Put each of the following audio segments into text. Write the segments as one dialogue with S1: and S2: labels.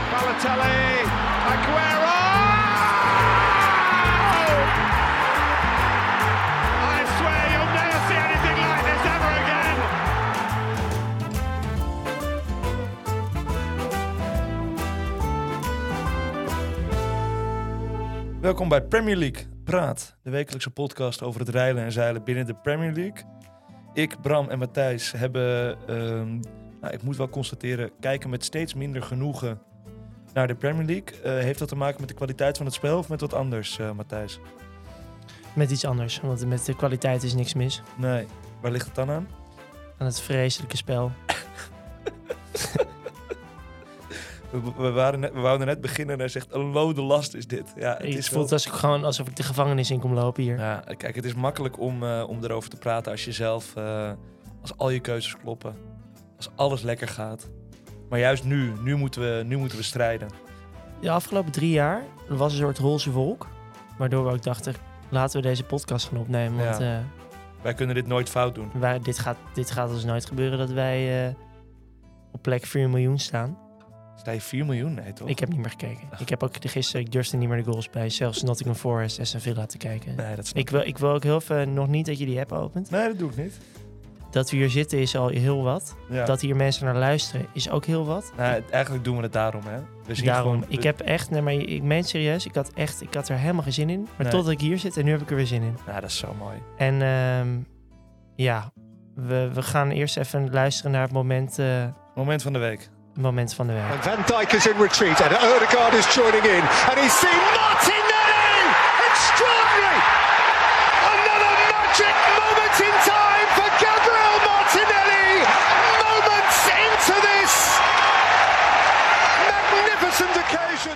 S1: Balotelli, Aguero! I swear you'll never see anything like this ever again.
S2: Welkom bij Premier League Praat, de wekelijkse podcast over het rijlen en zeilen binnen de Premier League. Ik, Bram en Matthijs hebben, ehm, nou, ik moet wel constateren, kijken met steeds minder genoegen naar de Premier League. Eh, heeft dat te maken met de kwaliteit van het spel of met wat anders, eh, Matthijs?
S3: Met iets anders, want met de kwaliteit is niks mis.
S2: Nee. Waar ligt het dan aan?
S3: Aan het vreselijke spel.
S2: We, we, waren net, we wouden net beginnen en hij zegt, een lode last is dit. Ja, het
S3: Het
S2: is wel-
S3: voelt als ik gewoon alsof ik de gevangenis in kom lopen hier.
S2: Ja, kijk, het is makkelijk om, eh, om erover te praten als je zelf, eh, als al je keuzes kloppen, als alles lekker gaat. Maar juist nu, nu moeten we, nu moeten we strijden.
S3: De afgelopen drie jaar was een soort roze wolk. Waardoor we ook dachten, laten we deze podcast gaan opnemen. Want eh,
S2: Wij kunnen dit nooit fout doen.
S3: wij- dit, gaat, dit gaat ons nooit gebeuren dat wij eh, op plek 4 miljoen staan.
S2: Sta je 4 miljoen? Nee, toch?
S3: Ik heb niet meer gekeken. Ik heb ook de- gisteren ik durfde niet meer de goals bij. Zelfs Nottingham Forest en Villa te kijken.
S2: Nee, dat snap
S3: Ik, wil, ik wil ook heel veel, nog niet dat je die app opent.
S2: Nee, dat doe ik niet.
S3: Dat we hier zitten is al heel wat.
S2: Ja.
S3: Dat hier mensen naar luisteren is ook heel wat.
S2: Nou, eigenlijk doen we het daarom, hè. We zien
S3: Daarom,
S2: gewoon-
S3: ik heb echt, nee, maar ik meen het serieus, ik had echt, ik had er helemaal geen zin in. Maar
S2: Nee.
S3: totdat ik hier zit en nu heb ik er weer zin in.
S2: Nou, dat is zo mooi.
S3: En ehm, ja, we, we gaan eerst even luisteren naar het moment, eh,
S2: Moment van de week.
S3: het moment van de week.
S4: And Van Dijk is in retreat, and Odegaard is joining in, and he's seen Martinelli! Extraordinary! Another magic moment in time for Gabriel Martinelli! Moments into this magnificent occasion!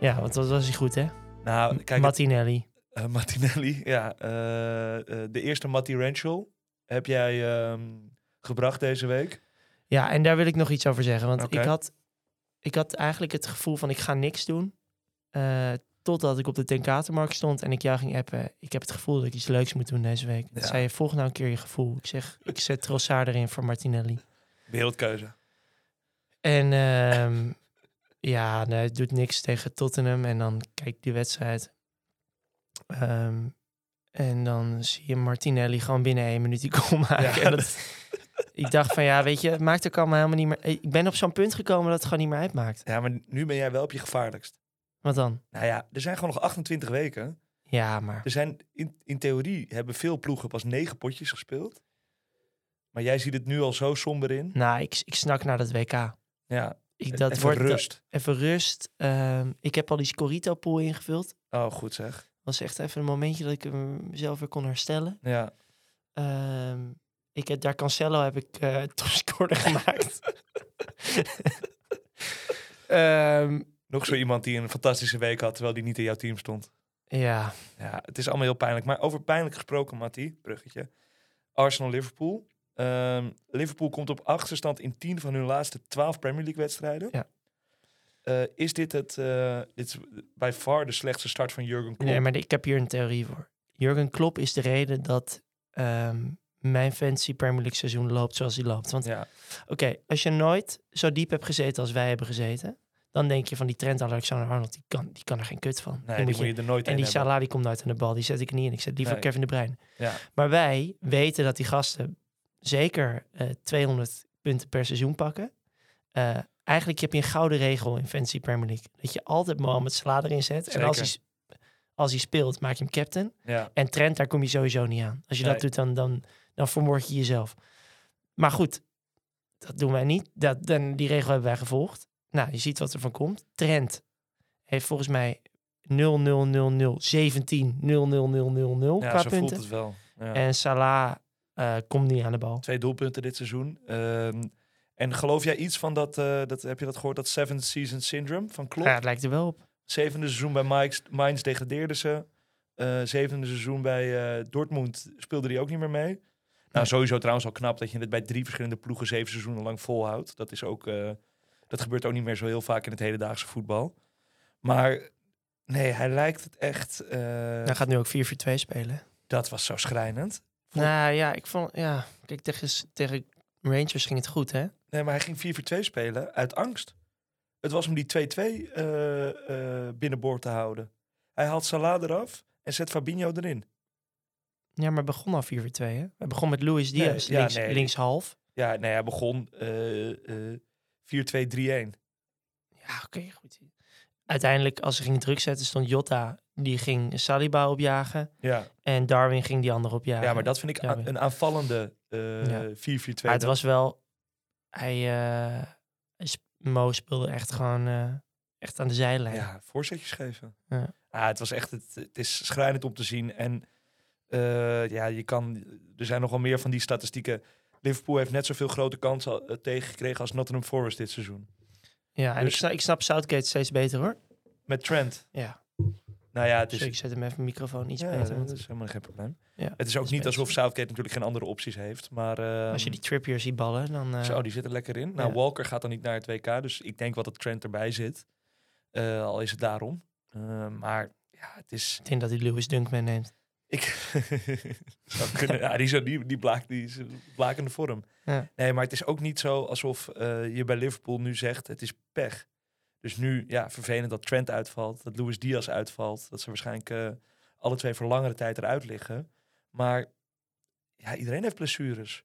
S3: Ja, want dat was hij goed, hè?
S2: Nou, kijk,
S3: Martinelli.
S2: eh, Martinelli, ja. eh, eh, de eerste Matty Ranchel heb jij ehm, gebracht deze week.
S3: Ja, en daar wil ik nog iets over zeggen. Want
S2: Oké.
S3: ik, had, ik had eigenlijk het gevoel van ik ga niks doen. eh, totdat ik op de Tenkatenmarkt stond en ik jou ging appen. Ik heb het gevoel dat ik iets leuks moet doen deze week. Dat
S2: Ja.
S3: zei je, volg nou een keer je gevoel. Ik zeg, ik zet Trossard erin voor Martinelli.
S2: Wereldkeuze.
S3: En ehm, ja, nee, het doet niks tegen Tottenham. En dan kijk ik die wedstrijd. Ehm, en dan zie je Martinelli gewoon binnen één minuut die goal maken.
S2: Ja,
S3: En dat- ik dacht van ja, weet je, het maakt ook allemaal helemaal niet meer... Ik ben op zo'n punt gekomen dat het gewoon niet meer uitmaakt.
S2: Ja, maar nu ben jij wel op je gevaarlijkst.
S3: Wat dan?
S2: Nou ja, er zijn gewoon nog 28 weken.
S3: Ja, maar
S2: Er zijn, in, in theorie hebben veel ploegen pas negen potjes gespeeld. Maar jij ziet het nu al zo somber in.
S3: nou, ik, ik snak naar dat WK.
S2: Ja,
S3: Ik, dat
S2: even
S3: wordt
S2: rust.
S3: even rust. Ehm, ik heb al die Scorito-pool ingevuld.
S2: Oh, goed zeg.
S3: was echt even een momentje dat ik eh, mezelf weer kon herstellen.
S2: Ja.
S3: Ehm, ik heb daar Cancelo heb ik eh topscorer gemaakt. Ehm,
S2: Nog zo iemand die een fantastische week had, terwijl die niet in jouw team stond.
S3: ja,
S2: Ja, het is allemaal heel pijnlijk. Maar over pijnlijk gesproken, Matty, bruggetje. Arsenal-Liverpool. Ehm, Liverpool komt op achterstand in 10 van hun laatste 12 Premier League wedstrijden.
S3: Ja.
S2: Eh, is dit het, eh, dit is bij far de slechtste start van Jurgen Klopp?
S3: nee, maar ik heb hier een theorie voor. Jurgen Klopp is de reden dat ehm, mijn fantasy Premier League seizoen loopt zoals hij loopt. Want
S2: Ja,
S3: oké, als je nooit zo diep hebt gezeten als wij hebben gezeten, dan denk je van die Trent Alexander-Arnold, die kan, die kan er geen kut van. Die
S2: nee, die
S3: moet
S2: moet
S3: je-
S2: je er nooit
S3: en
S2: in
S3: die
S2: hebben.
S3: Salah die komt nooit aan de bal, die zet ik niet in. Ik zet liever
S2: Nee.
S3: Kevin De Bruyne.
S2: Ja.
S3: Maar wij weten dat die gasten zeker eh, 200 punten per seizoen pakken. Eh, eigenlijk heb je een gouden regel in Fantasy Premier League. Dat je altijd Mohamed Salah erin zet. En als hij,
S2: Zeker.
S3: s- als hij speelt, maak je hem captain.
S2: Ja.
S3: En Trent, daar kom je sowieso niet aan. Als je
S2: Nee.
S3: dat doet, dan, dan, dan vermoord je jezelf. Maar goed, dat doen wij niet. Dat, dan, die regel hebben wij gevolgd. Nou, je ziet wat er van komt. Trent heeft volgens mij 0 0 0 0 17 0 0 0 0 0
S2: Ja,
S3: qua
S2: zo voelt
S3: punten.
S2: het wel. Ja.
S3: En Salah eh, komt niet aan de bal.
S2: Twee doelpunten dit seizoen. Ehm, en geloof jij iets van dat, eh, dat, heb je dat gehoord, dat Seven Season Syndrome van Klopp?
S3: Ja, het lijkt er wel op.
S2: Zevende seizoen bij Mainz, Mainz degradeerden ze. Eh, zevende seizoen bij eh, Dortmund speelde hij ook niet meer mee. Nou,
S3: Nee.
S2: sowieso trouwens al knap dat je het bij drie verschillende ploegen zeven seizoenen lang volhoudt. Dat, is ook, eh, dat gebeurt ook niet meer zo heel vaak in het hedendaagse voetbal. Maar nee, hij lijkt het echt... eh,
S3: Hij gaat nu ook 4-4-2 spelen.
S2: Dat was zo schrijnend. Voor-
S3: Nou ja, ik vond... Ja, kijk, tegen, tegen Rangers ging het goed, hè?
S2: Nee, maar hij ging 4-4-2 spelen uit angst. Het was om die 2-2 eh, eh, binnenboord te houden. Hij haalt Salah eraf en zet Fabinho erin.
S3: Ja, maar begon al 4-4-2, hè? Hij begon met Luis
S2: Nee,
S3: Diaz,
S2: ja,
S3: links,
S2: nee.
S3: linkshalf.
S2: Ja, nee, hij begon eh, eh, 4-2-3-1.
S3: Ja, oké, goed. Uiteindelijk, als ze gingen druk zetten, stond Jota. Die ging Saliba opjagen.
S2: Ja.
S3: En Darwin ging die andere opjagen.
S2: ja, maar dat vind ik
S3: Ja,
S2: aan-
S3: maar-
S2: een aanvallende eh,
S3: Ja.
S2: 4-4-2.
S3: Maar het was wel... Hij, eh, sp- Mo speelde echt gewoon eh, echt aan de zijlijn.
S2: nou Ja, voorzetjes geven.
S3: Ja.
S2: Ah, het was echt, het, het is schrijnend om te zien. En eh, ja, je kan, er zijn nogal meer van die statistieken. Liverpool heeft net zoveel grote kansen al- eh, tegengekregen als Nottingham Forest dit seizoen.
S3: Ja, en
S2: Dus-
S3: ik, snap, ik snap Southgate steeds beter, hoor.
S2: Met Trent.
S3: Ja,
S2: Nou ja, het
S3: dus
S2: is,
S3: ik zet hem even mijn microfoon iets
S2: ja,
S3: beter.
S2: dat
S3: want-
S2: is helemaal geen probleem.
S3: ja,
S2: Het is ook
S3: dat
S2: niet
S3: beter.
S2: alsof Southgate natuurlijk geen andere opties heeft. Maar eh,
S3: Als je die Trippier ziet ballen, dan... eh,
S2: zo, die zit er lekker in. Nou,
S3: ja.
S2: Walker gaat dan niet naar het WK. Dus ik denk wat dat Trent erbij zit. Eh, al is het daarom. Eh, maar ja, het is...
S3: Ik denk dat hij Lewis Dunkman neemt.
S2: Ik zou kunnen. Ja, die, zo, die, die, blaakt, die is een blakende vorm.
S3: Ja.
S2: Nee, maar het is ook niet zo alsof eh, je bij Liverpool nu zegt: het is pech. Dus nu, ja, vervelend dat Trent uitvalt, dat Luis Diaz uitvalt, dat ze waarschijnlijk eh, alle twee voor langere tijd eruit liggen. Maar ja, iedereen heeft blessures.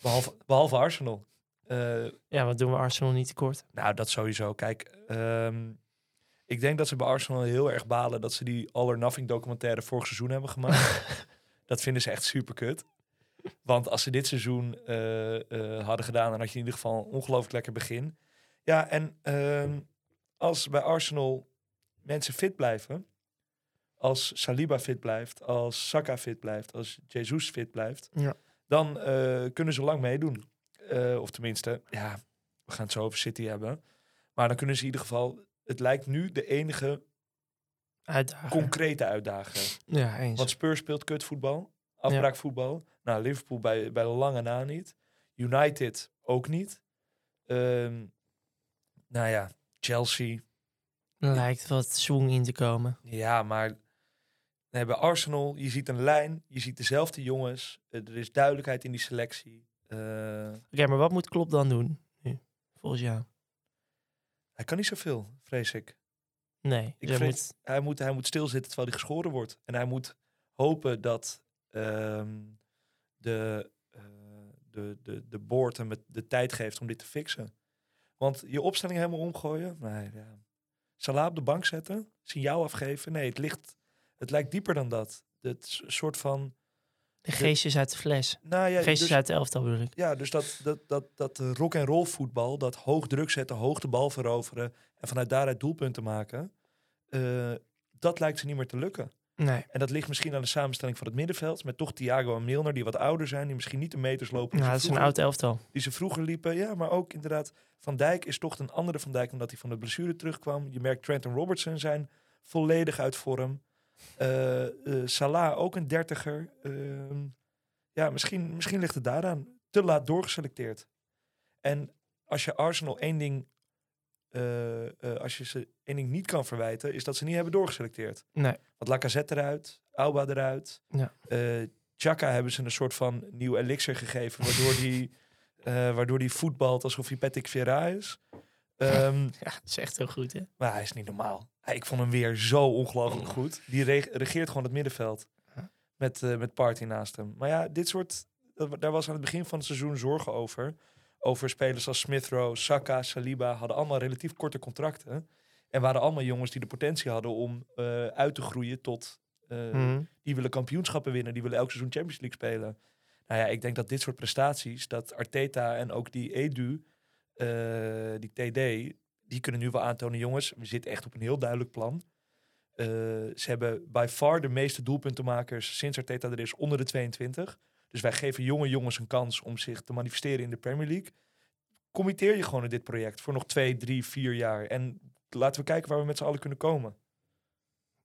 S2: Behalve, behalve Arsenal. Eh,
S3: Ja, wat doen we Arsenal niet tekort?
S2: nou, dat sowieso. Kijk, ehm, ik denk dat ze bij Arsenal heel erg balen dat ze die All or Nothing documentaire vorig seizoen hebben gemaakt. dat vinden ze echt super kut. Want als ze dit seizoen eh, eh, hadden gedaan, dan had je in ieder geval een ongelooflijk lekker begin. Ja, en ehm, als bij Arsenal mensen fit blijven, als Saliba fit blijft, als Saka fit blijft, als Jesus fit blijft,
S3: Ja.
S2: dan eh, kunnen ze lang meedoen. Eh, of tenminste, ja, we gaan het zo over City hebben. Maar dan kunnen ze in ieder geval. Het lijkt nu de enige
S3: Uitdagen.
S2: concrete uitdaging.
S3: ja, eens.
S2: Want Spurs speelt kutvoetbal, afbraakvoetbal. Nou, Liverpool bij, bij lange na niet. United ook niet. Ehm, nou ja, Chelsea.
S3: Lijkt wat swing in te komen.
S2: Ja, maar nee, bij Arsenal, je ziet een lijn, je ziet dezelfde jongens. eh, er is duidelijkheid in die selectie. Eh,
S3: Oké, maar wat moet Klopp dan doen nu? Volgens jou?
S2: hij kan niet zoveel, vrees ik.
S3: Nee.
S2: Ik
S3: dus hij
S2: vrees-
S3: moet,
S2: hij moet, hij moet stilzitten terwijl hij geschoren wordt. En hij moet hopen dat ehm, de, eh, de, de, de board hem het- de tijd geeft om dit te fixen. Want je opstelling helemaal omgooien? Nee, ja. Salah op de bank zetten? Signaal afgeven? Nee, het, ligt, het lijkt dieper dan dat. Het is een soort van...
S3: de geest is uit de fles.
S2: Nou ja,
S3: De geest
S2: dus-
S3: is uit de elftal bedoel ik.
S2: ja, dus dat, dat, dat, dat eh, rock en roll voetbal, dat hoog druk zetten, hoog de bal veroveren en vanuit daaruit doelpunten maken, eh, dat lijkt ze niet meer te lukken.
S3: Nee.
S2: En dat ligt misschien aan de samenstelling van het middenveld. Met toch Thiago en Milner, die wat ouder zijn. Die misschien niet de meters lopen die,
S3: Nou,
S2: ze
S3: dat is een
S2: vroeger-
S3: oud elftal.
S2: die ze vroeger liepen. Ja, maar ook inderdaad. Van Dijk is toch een andere Van Dijk. Omdat hij van de blessure terugkwam. Je merkt Trent en Robertson zijn volledig uit vorm. Eh, eh, Salah ook een dertiger. Ehm, ja, misschien, misschien ligt het daaraan. Te laat doorgeselecteerd. En als je Arsenal één ding... eh, eh, als je ze één ding niet kan verwijten, is dat ze niet hebben doorgeselecteerd.
S3: Nee.
S2: Want Lacazette eruit, Auba eruit.
S3: Ja.
S2: Eh, Chaka hebben ze een soort van nieuw elixir gegeven, waardoor die, eh, waardoor die voetbalt alsof hij Patrick Vieira is. Ehm,
S3: Ja, dat is echt heel goed, hè?
S2: maar hij is niet normaal. Hij- Ik vond hem weer zo ongelooflijk goed. Die re- regeert gewoon het middenveld met, eh, met Party naast hem. Maar ja, dit soort, dat- daar was aan het begin van het seizoen zorgen over. Over spelers als Smith Rowe, Saka, Saliba hadden allemaal relatief korte contracten. En waren allemaal jongens die de potentie hadden om eh, uit te groeien tot eh,
S3: Mhm.
S2: die willen kampioenschappen winnen. Die willen elk seizoen Champions League spelen. Nou ja, ik denk dat dit soort prestaties, dat Arteta en ook die Edu, eh, die TD, die kunnen nu wel aantonen, jongens, we zitten echt op een heel duidelijk plan. Eh, ze hebben by far de meeste doelpuntenmakers sinds Arteta er is onder de 22. Dus wij geven jonge jongens een kans om zich te manifesteren in de Premier League. Committeer je gewoon in dit project voor nog twee, drie, vier jaar. En laten we kijken waar we met z'n allen kunnen komen.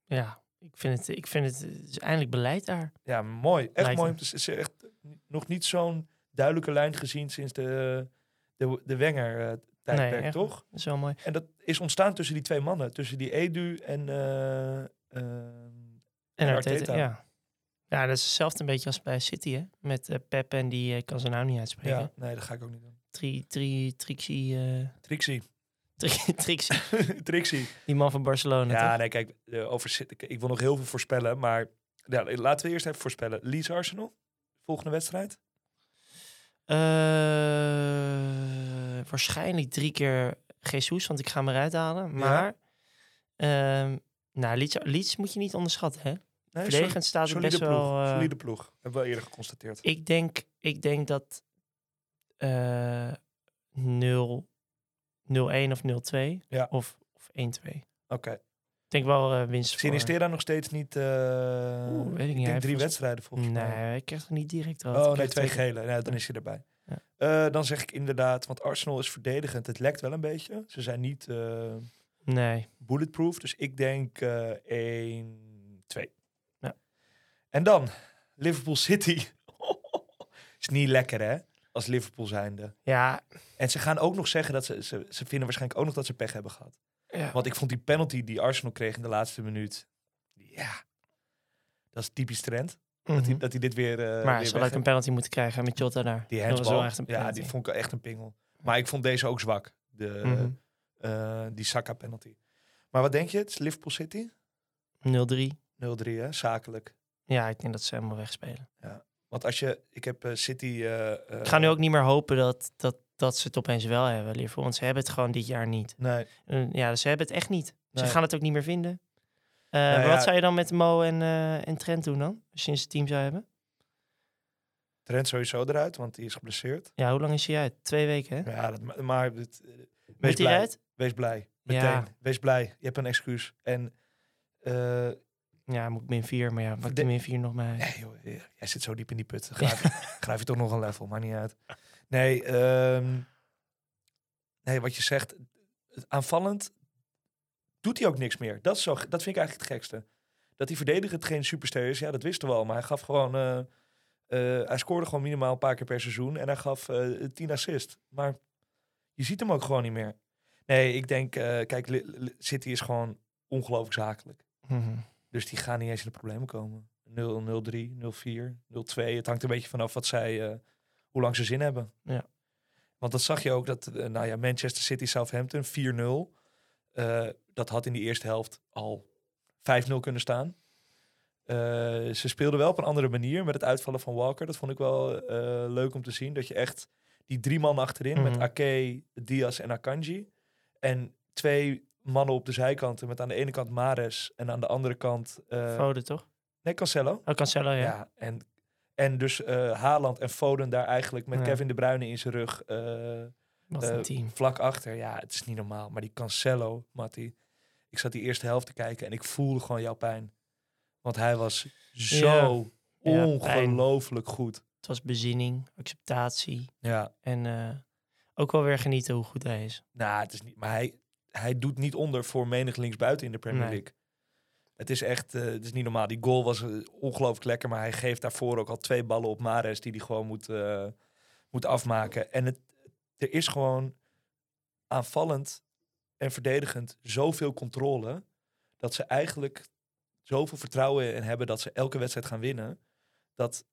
S3: Ja, ik vind het, ik vind het, het is eindelijk beleid daar.
S2: Ja, mooi. Echt
S3: Lijkt
S2: mooi. om
S3: me.
S2: te z- is echt nog niet zo'n duidelijke lijn gezien sinds de, de, de Wenger-tijdperk,
S3: Nee, echt.
S2: toch?
S3: Dat is wel mooi.
S2: En dat is ontstaan tussen die twee mannen. Tussen die Edu en... eh, eh,
S3: En
S2: En
S3: Arteta,
S2: Arteta.
S3: ja. Ja, dat is hetzelfde een beetje als bij City, hè? Met eh, Pep en die eh, kan zijn naam niet uitspreken.
S2: ja, nee, dat ga ik ook niet doen.
S3: Tri, tri, Trixie, eh,
S2: Trixie.
S3: Tri- Trixie,
S2: Trixie.
S3: die man van Barcelona.
S2: Ja,
S3: toch?
S2: nee, kijk, eh, over, City- ik, ik wil nog heel veel voorspellen, maar ja, laten we eerst even voorspellen. Leeds Arsenal, volgende wedstrijd.
S3: Eh, waarschijnlijk drie keer Jesus, want ik ga hem eruit halen. Maar ehm nou, Leeds, Leeds moet je niet onderschatten. Hè?
S2: Nee,
S3: Verdedigend
S2: sol-
S3: staat het
S2: solide
S3: best
S2: ploeg,
S3: wel... eh,
S2: solide ploeg. Hebben we al eerder geconstateerd.
S3: ik, denk, ik denk dat eh 0, 0-1 of 0-2
S2: Ja.
S3: of, of 1-2. Ik
S2: Oké.
S3: denk wel eh, winst voor...
S2: Sinistera nog steeds niet. eh
S3: Oeh, weet ik niet.
S2: ik
S3: Hij
S2: denk
S3: heeft
S2: drie
S3: volgens-
S2: wedstrijden volgens mij.
S3: Nee, ik krijg toch niet direct rood. Ik
S2: Oh nee,
S3: krijg
S2: twee
S3: keer-
S2: gele. Nou, dan is hij erbij.
S3: Ja.
S2: Eh, dan zeg ik inderdaad, want Arsenal is verdedigend. Het lekt wel een beetje. Ze zijn niet eh,
S3: Nee.
S2: bulletproof. Dus ik denk eh 1, 2.
S3: Ja.
S2: En dan Liverpool City. is niet lekker hè, als Liverpool zijnde.
S3: Ja,
S2: En ze gaan ook nog zeggen dat ze, ze, ze vinden waarschijnlijk ook nog dat ze pech hebben gehad.
S3: ja.
S2: Want ik vond die penalty die Arsenal kreeg in de laatste minuut. Ja, dat is typisch trend. Dat, hij,
S3: mhm.
S2: dat hij dit weer. eh,
S3: Maar
S2: weer
S3: zal
S2: weg
S3: ik een penalty moeten krijgen met Jota daar?
S2: Die
S3: Dat was
S2: handbal,
S3: wel echt een
S2: ja,
S3: penalty.
S2: die vond ik echt een pingel. Maar ik vond deze ook zwak, de,
S3: Mhm.
S2: eh, die Saka-penalty. Maar wat denk je? Het is Liverpool City,
S3: 0-3.
S2: 0-3 hè, zakelijk.
S3: Ja, ik denk dat ze helemaal wegspelen.
S2: Want als je, ik heb eh, City... eh, eh,
S3: Ik ga nu ook niet meer hopen dat, dat, dat ze het opeens wel hebben, Liverpool. Want ze hebben het gewoon dit jaar niet.
S2: Nee,
S3: Eh, Ja, ze hebben het echt niet. Ze
S2: Nee.
S3: gaan het ook niet meer vinden. Eh,
S2: Nou
S3: maar
S2: ja.
S3: Wat zou je dan met Mo en, eh, en Trent doen dan? Als je in zijn team zou hebben?
S2: Trent sowieso eruit, want die is geblesseerd.
S3: Ja, hoe lang is hij uit? Twee weken, hè?
S2: Ja, dat, ma- maar... het, eh, wees
S3: Moet hij
S2: blij.
S3: eruit?
S2: Wees blij. Meteen.
S3: Ja.
S2: Wees blij. Je hebt een excuus. En... eh,
S3: Ja, moet ik min vier. Maar ja, maakt
S2: De-
S3: die min vier nog maar.
S2: Nee, joh, eh, jij zit zo diep in die put. Graaf, graaf je toch nog een level, maar niet uit. Nee, ehm, nee, wat je zegt, het aanvallend doet hij ook niks meer. Dat, is zo, dat vind ik eigenlijk het gekste. Dat hij verdedigend geen superster is, ja, dat wisten we al. Maar hij gaf gewoon, eh, eh, hij scoorde gewoon minimaal een paar keer per seizoen. En hij gaf eh 10 assist. Maar je ziet hem ook gewoon niet meer. Nee, ik denk, eh, kijk, Li- Li- City is gewoon ongelooflijk zakelijk.
S3: Mhm.
S2: Dus die gaan niet eens in de problemen komen. 0, 0-3, 0-4, 0-2. Het hangt een beetje vanaf wat zij, eh, hoe lang ze zin hebben.
S3: Ja.
S2: Want dat zag je ook dat, eh, nou ja, Manchester City, Southampton, 4-0. Eh, dat had in die eerste helft al 5-0 kunnen staan. Eh, ze speelden wel op een andere manier met het uitvallen van Walker. Dat vond ik wel eh, leuk om te zien. Dat je echt die drie man achterin
S3: Mhm.
S2: met Ake, Diaz en Akanji. En twee mannen op de zijkanten met aan de ene kant Mares en aan de andere kant... eh,
S3: Foden, toch?
S2: nee, Cancelo.
S3: Oh, Cancelo, ja.
S2: Ja. en, en dus eh, Haaland en Foden daar eigenlijk met
S3: Ja.
S2: Kevin De Bruyne in zijn rug eh,
S3: Wat een
S2: eh,
S3: team.
S2: vlak achter. Ja, het is niet normaal. Maar die Cancelo, Matti. Ik zat die eerste helft te kijken en ik voelde gewoon jouw pijn. Want hij was zo
S3: Ja,
S2: ongelooflijk goed.
S3: Het was bezinning, acceptatie.
S2: Ja,
S3: En eh, ook wel weer genieten hoe goed hij is.
S2: nou, het is niet. Maar hij, hij doet niet onder voor menig linksbuiten in de Premier
S3: Nee.
S2: League. Het is echt, eh, het is niet normaal. Die goal was eh, ongelooflijk lekker, maar hij geeft daarvoor ook al twee ballen op Mares die hij gewoon moet, eh, moet afmaken. En het, er is gewoon aanvallend en verdedigend zoveel controle dat ze eigenlijk zoveel vertrouwen in hebben dat ze elke wedstrijd gaan winnen. Dat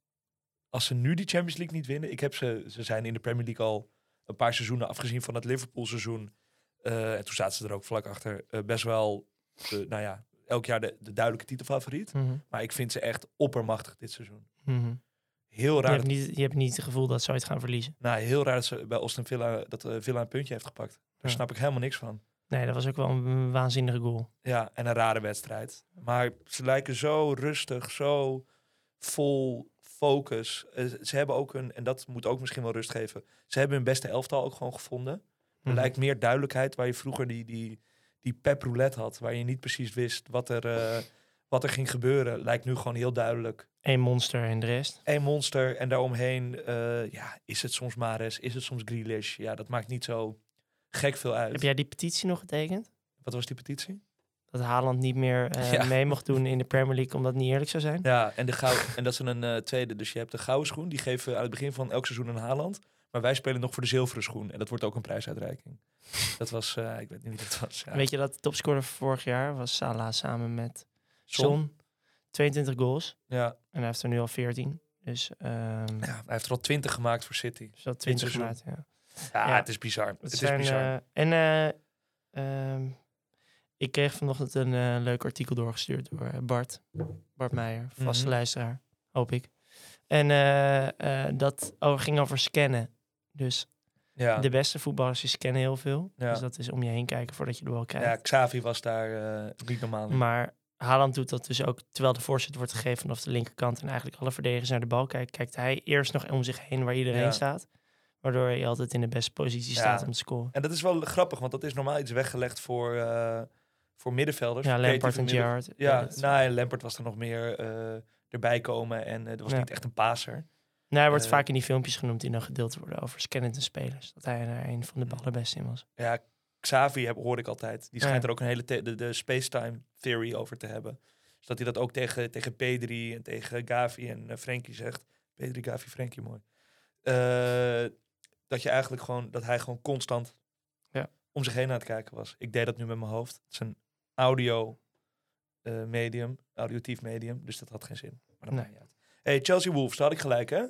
S2: als ze nu die Champions League niet winnen, ik heb ze, ze zijn in de Premier League al een paar seizoenen, afgezien van het Liverpool seizoen, eh, en toen zaten ze er ook vlak achter, eh, best wel, eh, nou ja, elk jaar de, de duidelijke titelfavoriet.
S3: Mhm.
S2: Maar ik vind ze echt oppermachtig dit seizoen.
S3: Mhm.
S2: Heel
S3: Je,
S2: raar,
S3: hebt
S2: dat,
S3: niet, je hebt niet het gevoel dat ze ooit gaan verliezen.
S2: nou, heel raar dat ze bij Austin Villa, dat eh, Villa een puntje heeft gepakt. Daar
S3: Ja.
S2: snap ik helemaal niks van.
S3: Nee, dat was ook wel een waanzinnige goal.
S2: Ja, en een rare wedstrijd. Maar ze lijken zo rustig, zo vol focus. Eh, ze hebben ook hun, en dat moet ook misschien wel rust geven, ze hebben hun beste elftal ook gewoon gevonden. Er
S3: Mhm.
S2: Hm. lijkt meer duidelijkheid waar je vroeger die, die, die pep roulette had, waar je niet precies wist wat er, eh, wat er ging gebeuren, lijkt nu gewoon heel duidelijk.
S3: Eén monster en de rest.
S2: Eén monster en daaromheen eh, ja, is het soms Mares, is het soms Grealish. Ja, dat maakt niet zo gek veel uit.
S3: Heb jij die petitie nog getekend?
S2: Wat was die petitie?
S3: Dat Haaland niet meer eh,
S2: Ja.
S3: mee mocht doen in de Premier League omdat het niet eerlijk zou zijn?
S2: Ja, en, de gauw, en dat is een eh, tweede. Dus je hebt de gouden schoen, die geven we aan het begin van elk seizoen een Haaland. Maar wij spelen nog voor de zilveren schoen. En dat wordt ook een prijsuitreiking. Dat was, eh, ik weet niet wie dat was. Ja.
S3: Weet je dat de topscorer van vorig jaar was Salah samen met
S2: Son.
S3: Son. 22 goals.
S2: Ja.
S3: En hij heeft er nu al 14. Dus ehm
S2: ja, hij heeft er al twintig gemaakt voor City.
S3: is dat 20
S2: seizoen.
S3: maart. Ja.
S2: Ja,
S3: Ja.
S2: het is bizar. Het,
S3: Het
S2: is
S3: zijn,
S2: bizar.
S3: eh, en eh, Ehm, ik kreeg vanochtend een eh, leuk artikel doorgestuurd door eh, Bart. Bart Meijer, vaste
S2: Mhm.
S3: luisteraar, hoop ik. En eh, eh, dat over, ging over scannen. Dus
S2: Ja,
S3: de beste voetballers die scannen heel veel.
S2: Ja.
S3: Dus dat is om je heen kijken voordat je de bal
S2: ja
S3: krijgt.
S2: Xavi was daar eh, niet normaal. in.
S3: Maar Haaland doet dat dus ook terwijl de voorzet wordt gegeven vanaf de linkerkant. En eigenlijk alle verdedigers naar de bal kijken. Kijkt hij eerst nog om zich heen waar iedereen
S2: Ja.
S3: staat. Waardoor hij altijd in de beste positie
S2: Ja.
S3: staat om te scoren.
S2: En dat is wel grappig, want dat is normaal iets weggelegd voor, eh, voor middenvelders.
S3: Ja,
S2: voor
S3: Lampard
S2: creatieve
S3: en
S2: midden-
S3: Gerrard.
S2: Ja,
S3: dat-
S2: nou, en Lampard was er nog meer eh, erbij komen en eh, dat was
S3: Ja.
S2: niet echt een paser.
S3: Nou, hij wordt
S2: Eh,
S3: vaak in die filmpjes genoemd die dan gedeeld worden over scannende spelers. Dat hij er een van de allerbeste in was.
S2: Ja, Xavi heb, hoorde ik altijd. Die schijnt
S3: Ja.
S2: er ook een hele the- de, de space-time theory over te hebben. Dus dat hij dat ook tegen, tegen Pedri en tegen Gavi en eh, Frenkie zegt. Pedri, Gavi, Frenkie, mooi. Eh, dat je eigenlijk gewoon, dat hij gewoon constant
S3: Ja.
S2: om zich heen aan het kijken was. Ik deed dat nu met mijn hoofd. Het is een audio eh, medium, auditief medium, dus dat had geen zin. Maar dat
S3: Nee.
S2: maakt niet uit. Hey, Chelsea Wolves, daar had ik gelijk, hè?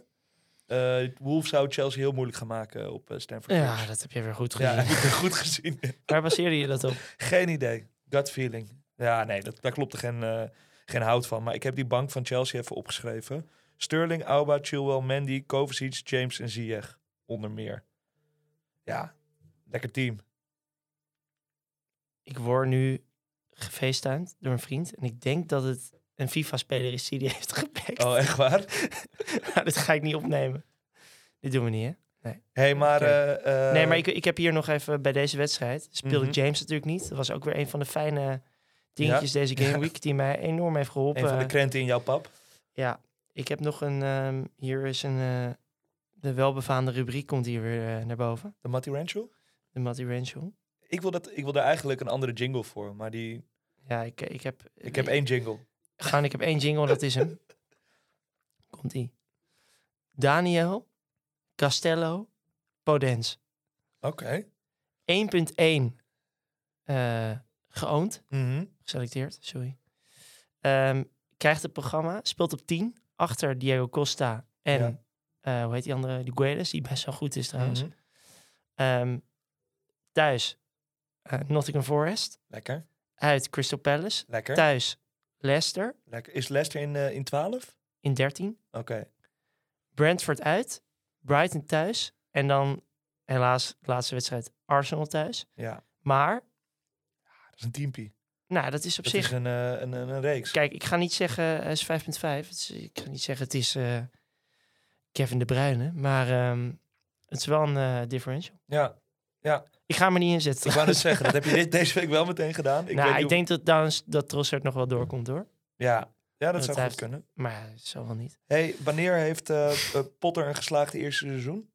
S2: Eh Wolves zou Chelsea heel moeilijk gaan maken op eh, Stamford Bridge.
S3: Ja, dat heb je weer goed gezien.
S2: Ja, heb ik het goed gezien.
S3: Waar baseerde je dat op?
S2: Geen idee. Gut feeling. Ja, nee, dat, daar klopt er geen, eh, geen hout van. Maar ik heb die bank van Chelsea even opgeschreven. Sterling, Auba, Chilwell, Mandy, Kovacic, James en Ziyech. Onder meer. Ja, lekker team.
S3: Ik word nu gefeestuind door een vriend. En ik denk dat het een FIFA-speler is die die heeft gepakt.
S2: Oh, echt waar?
S3: Maar dat ga ik niet opnemen. Dit doen we niet, hè?
S2: Hé, hey, maar...
S3: Oké.
S2: eh, eh,
S3: nee, maar ik, ik heb hier nog even bij deze wedstrijd. Speelde
S2: Mhm.
S3: James natuurlijk niet. Dat was ook weer een van de fijne dingetjes deze Game Week. Die mij enorm heeft geholpen. eh,
S2: Een van de krenten in jouw pap.
S3: Ja, ik heb nog een. ehm, hier is een. eh, de welbefaamde rubriek komt hier weer eh, naar boven.
S2: De Matty Rancho.
S3: De Matty Ranchel.
S2: Ik wil, dat, ik wil daar eigenlijk een andere jingle voor. Maar die,
S3: Ja, ik, ik heb.
S2: ik heb één jingle.
S3: Gaan, ik heb één jingle, dat is hem. Komt ie. Daniel Castello Podens.
S2: Oké.
S3: 1.1 eh geoond,
S2: Mhm.
S3: geselecteerd, sorry. Ehm, krijgt het programma, speelt op 10 achter Diego Costa en
S2: Ja.
S3: eh, hoe heet die andere? De Guedes, die best wel goed is trouwens.
S2: Mhm.
S3: Ehm, thuis eh, Nottingham Forest.
S2: Lekker,
S3: Uit Crystal Palace.
S2: lekker,
S3: Thuis Leicester
S2: lekker. Is Lester in, eh, in 12?
S3: in 13.
S2: Oké.
S3: Brentford uit. Brighton thuis. En dan helaas de laatste wedstrijd Arsenal thuis.
S2: Ja,
S3: Maar,
S2: dat is een teampie.
S3: nou, dat is op
S2: Dat
S3: zich...
S2: is een, eh, een, een, een reeks.
S3: Kijk, ik ga niet zeggen eh, het is 5.5. Het is- ik ga niet zeggen het is eh, Kevin De Bruyne. Maar ehm, het is wel een eh, differential.
S2: Ja,
S3: Ik ga hem er niet in zetten.
S2: ik wou net zeggen, dat heb je dit, deze week wel meteen gedaan. Ik
S3: nou,
S2: weet
S3: ik
S2: niet
S3: denk dat, Downs- dat Trossard nog wel doorkomt hoor.
S2: of- Ja, ja dat
S3: dat
S2: zou
S3: hij
S2: goed
S3: heeft-
S2: kunnen.
S3: Maar zo wel niet.
S2: hey, wanneer heeft eh, eh, Potter een geslaagde eerste seizoen?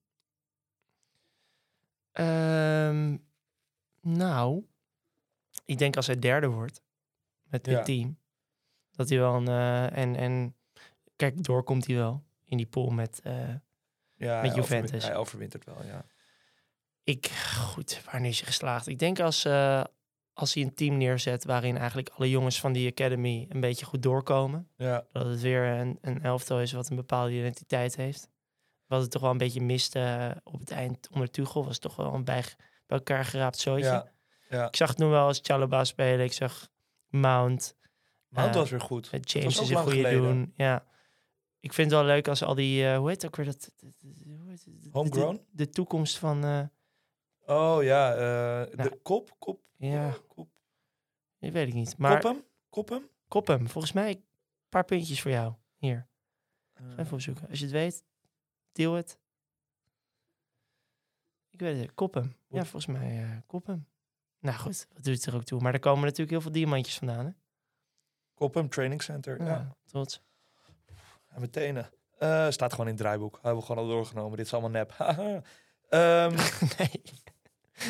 S3: Ehm, nou, ik denk als hij derde wordt met dit
S2: Ja.
S3: team, dat hij wel een. eh, en, en kijk, door komt hij wel in die pool met. eh,
S2: Ja,
S3: Met
S2: hij overwin-
S3: Juventus.
S2: Hij overwintert wel, ja.
S3: ik, goed, wanneer is hij geslaagd? Ik denk als, eh, als hij een team neerzet waarin eigenlijk alle jongens van die academy een beetje goed doorkomen,
S2: Ja,
S3: dat het weer een, een elftal is wat een bepaalde identiteit heeft. Wat het toch wel een beetje miste eh, op het eind onder Tuchel, was toch wel een bij, bij elkaar geraapt zootje.
S2: ja. ja.
S3: Ik zag toen wel eens Chalobah spelen. Ik zag Mount.
S2: Maar het
S3: Eh,
S2: was weer goed.
S3: eh, James
S2: ook
S3: is een
S2: lang
S3: goede
S2: geleden.
S3: doen. Ja. Ik vind het wel leuk als al die... eh, hoe heet het ook weer dat... dat- dat- hoe heet het? De-
S2: Homegrown?
S3: De, de toekomst van... eh,
S2: Oh ja, eh,
S3: Nou.
S2: de kop, kop,
S3: ja,
S2: kop,
S3: ik weet ik niet. Maar
S2: kop hem, kop hem.
S3: kop hem. Volgens mij een paar puntjes voor jou. Hier,
S2: Eh,
S3: ga even opzoeken. Als je het weet, deel het. Ik weet het, niet. kop hem. Ja,
S2: Kop.
S3: volgens mij eh kop hem. Nou goed, wat doet het er ook toe. Maar er komen natuurlijk heel veel diamantjes vandaan. Hè?
S2: kop hem, training center.
S3: Ja,
S2: Ja.
S3: trots.
S2: En meteen. eh staat gewoon in het draaiboek. Hebben we gewoon al doorgenomen. Dit is allemaal nep. Haha. Ehm,
S3: nee.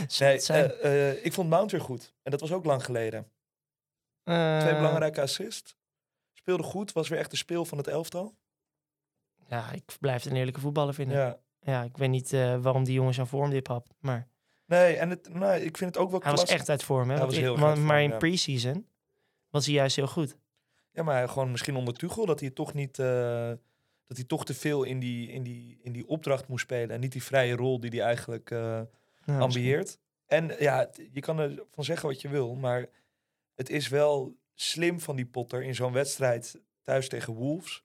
S3: Zou
S2: nee,
S3: het zijn?
S2: eh, eh, ik vond Mount weer goed. En dat was ook lang geleden. Twee
S3: Eh,
S2: belangrijke assist. Speelde goed, was weer echt de speel van het elftal.
S3: Ja, ik blijf het een eerlijke voetballer vinden. Ja,
S2: Ja.
S3: ik weet niet eh, waarom die jongen zo'n vorm dip had. Maar
S2: Nee, en het, nou, ik vind het ook wel
S3: hij was
S2: klasse-
S3: echt uit vorm. Hè?
S2: Hij
S3: Want
S2: was
S3: in-
S2: heel erg
S3: maar,
S2: uit vorm,
S3: maar in
S2: ja.
S3: pre-season was hij juist heel goed.
S2: Ja, maar gewoon misschien onder Tuchel dat hij toch niet... eh, dat hij toch te veel in die, in, die, in die opdracht moest spelen. En niet die vrije rol die hij eigenlijk eh
S3: Nou, misschien-
S2: ambieert. En ja, het- je kan er van zeggen wat je wil, maar het is wel slim van die Potter in zo'n wedstrijd thuis tegen Wolves.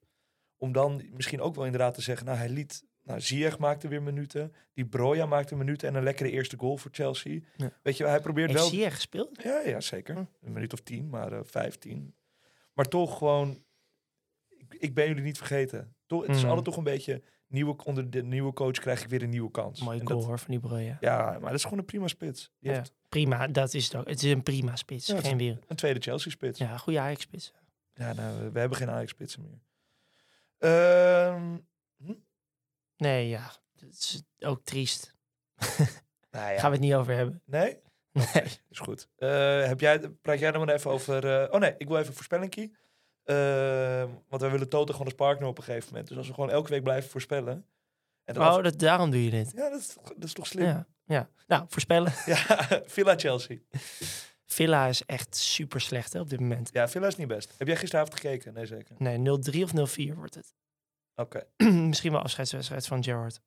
S2: Om dan misschien ook wel inderdaad te zeggen, nou hij liet, nou Ziyech maakte weer minuten. Die Broja maakte minuten en een lekkere eerste goal voor Chelsea.
S3: Ja.
S2: Weet je, hij probeert
S3: Heeft
S2: wel...
S3: Ziyech Hm. gespeeld?
S2: Ja, ja, zeker. Een minuut of tien, maar eh, vijftien. Maar toch gewoon, ik, ik ben jullie niet vergeten. Toch, het is
S3: Mm.
S2: altijd toch een beetje, nieuwe, onder de nieuwe coach krijg ik weer een nieuwe kans.
S3: Mooie
S2: En
S3: goal
S2: dat-
S3: hoor, van die Breuer.
S2: ja, maar dat is gewoon een prima spits. Die
S3: Ja.
S2: heeft
S3: Prima, dat is het ook. Het is een prima spits.
S2: Ja, het is-
S3: Geen weer.
S2: een tweede Chelsea-spits. Ja,
S3: Ja, goede Ajax-spits.
S2: nou, we- we hebben geen Ajax-spitsen meer. Ehm,
S3: Nee, ja. Het is ook triest.
S2: nou ja.
S3: Gaan we het niet over hebben.
S2: Nee?
S3: Nee.
S2: Is goed. Eh, heb jij, praat jij dan maar even over... eh, oh nee, ik wil even een voorspellingkie. Ehm, want wij willen Toto gewoon als partner op een gegeven moment. Dus als we gewoon elke week blijven voorspellen... En dan af-
S3: Oh, dat, daarom doe je dit.
S2: Ja, dat is, toch- dat is toch slim? Ja,
S3: Ja, ja. Nou, voorspellen.
S2: Villa-Chelsea.
S3: Villa is echt super slecht hè, op dit moment.
S2: Ja, Villa is niet best. Heb jij gisteravond gekeken? Nee, zeker.
S3: Nee, 0-3 of 0-4 wordt het.
S2: Oké.
S3: Misschien wel afscheidswedstrijd van Gerrard.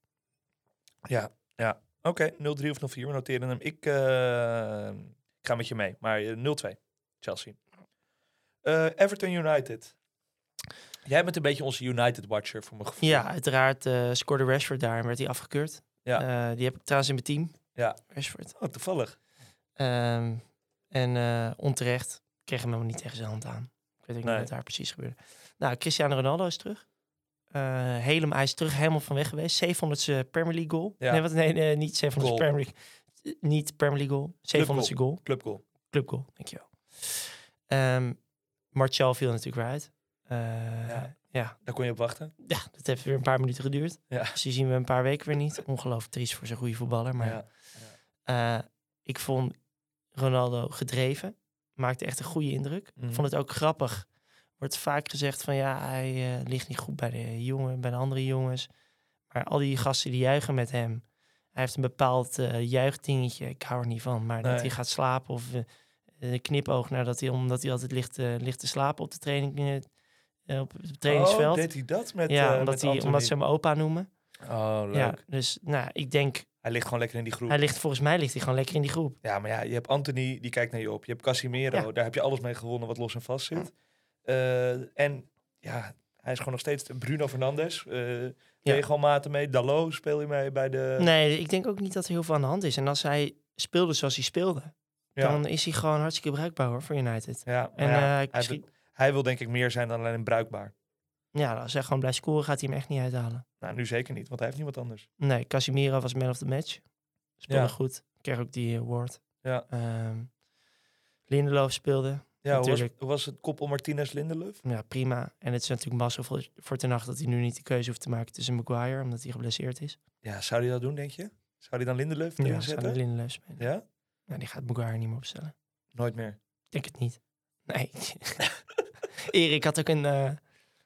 S2: Ja, ja. Oké, 0-3 of 0-4. We noteren hem. Ik eh, ik ga met je mee. Maar eh, 0-2, Chelsea. Eh, Everton United. Jij bent een beetje onze United-watcher voor mijn gevoel.
S3: Ja, uiteraard eh, scoorde Rashford daar en werd hij afgekeurd.
S2: Ja.
S3: Eh, die heb ik trouwens in mijn team.
S2: Ja.
S3: Rashford.
S2: Oh, toevallig.
S3: Ehm, en eh, onterecht. Ik kreeg hem helemaal niet tegen zijn hand aan. Ik weet ook
S2: Nee.
S3: niet wat daar precies gebeurde. Nou, Cristiano Ronaldo is terug. Eh helemaal, hij is terug helemaal van weg geweest. 700ste Premier League goal.
S2: Ja.
S3: Nee, wat, nee, nee, niet 700
S2: Goal.
S3: Premier League. eh, Niet Premier League goal. 700ste goal.
S2: Clubgoal.
S3: Clubgoal, dankjewel. Ehm Martial viel natuurlijk weer uit. Eh,
S2: Ja.
S3: ja.
S2: Daar kon je op wachten.
S3: Ja, dat heeft weer een paar minuten geduurd.
S2: Ja.
S3: Dus die zien we een paar weken weer niet. Ongelooflijk triest voor zo'n goede voetballer. Maar
S2: Ja.
S3: eh, ik vond Ronaldo gedreven. Maakte echt een goede indruk.
S2: Mhm.
S3: Vond het ook grappig. Wordt vaak gezegd van ja, hij eh, ligt niet goed bij de jongen, bij de andere jongens. Maar al die gasten die juichen met hem. Hij heeft een bepaald eh, juichdingetje. Ik hou er niet van. Maar
S2: Nee.
S3: dat hij gaat slapen of eh, een knipoog nadat hij, omdat hij altijd ligt, eh, ligt te slapen op de training. eh, eh, op het
S2: Oh,
S3: trainingsveld.
S2: deed hij dat met
S3: ja,
S2: eh,
S3: omdat,
S2: met
S3: hij,
S2: Anthony?
S3: omdat ze hem opa noemen.
S2: Oh, leuk.
S3: Ja, dus nou, ik denk,
S2: Hij ligt gewoon lekker in die groep.
S3: hij ligt, volgens mij ligt hij gewoon lekker in die groep.
S2: Ja, maar ja, je hebt Anthony, die kijkt naar je op. Je hebt Casimiro, daar heb je alles mee gewonnen wat los en vast zit. Eh, en ja, hij is gewoon nog steeds Bruno Fernandes. eh
S3: Ja.
S2: Deed je gewoon maten mee. Dallo speel je mee bij de...
S3: Nee, ik denk ook niet dat er heel veel aan de hand is. En als hij speelde zoals hij speelde,
S2: ja.
S3: dan is hij gewoon hartstikke bruikbaar hoor, voor United.
S2: ja, maar
S3: En eh,
S2: ja,
S3: ja,
S2: hij, wil- hij wil denk ik meer zijn dan alleen bruikbaar.
S3: ja, als hij gewoon blijft scoren, gaat hij hem echt niet uithalen.
S2: Nou, nu zeker niet, want hij heeft niemand anders.
S3: Nee, Casimiro was man of the match. Speelde
S2: Ja.
S3: goed. Kreeg ook die eh, award.
S2: Ja.
S3: Ehm, Lindelof speelde.
S2: Ja, hoe was,
S3: Natuurlijk.
S2: hoe was het koppel Martinez-Lindelöf?
S3: Ja, prima. En het is natuurlijk massa voor, voor ten nacht dat hij nu niet de keuze hoeft te maken tussen Maguire, omdat hij geblesseerd is.
S2: Ja, zou hij dat doen, denk je? Zou hij dan Lindelöf erin
S3: Ja, zou
S2: zetten?
S3: hij Lindelof spelen.
S2: Ja?
S3: Nou, die gaat Maguire niet meer opstellen.
S2: Nooit meer.
S3: Ik denk het niet. Nee. Erik had ook een, eh,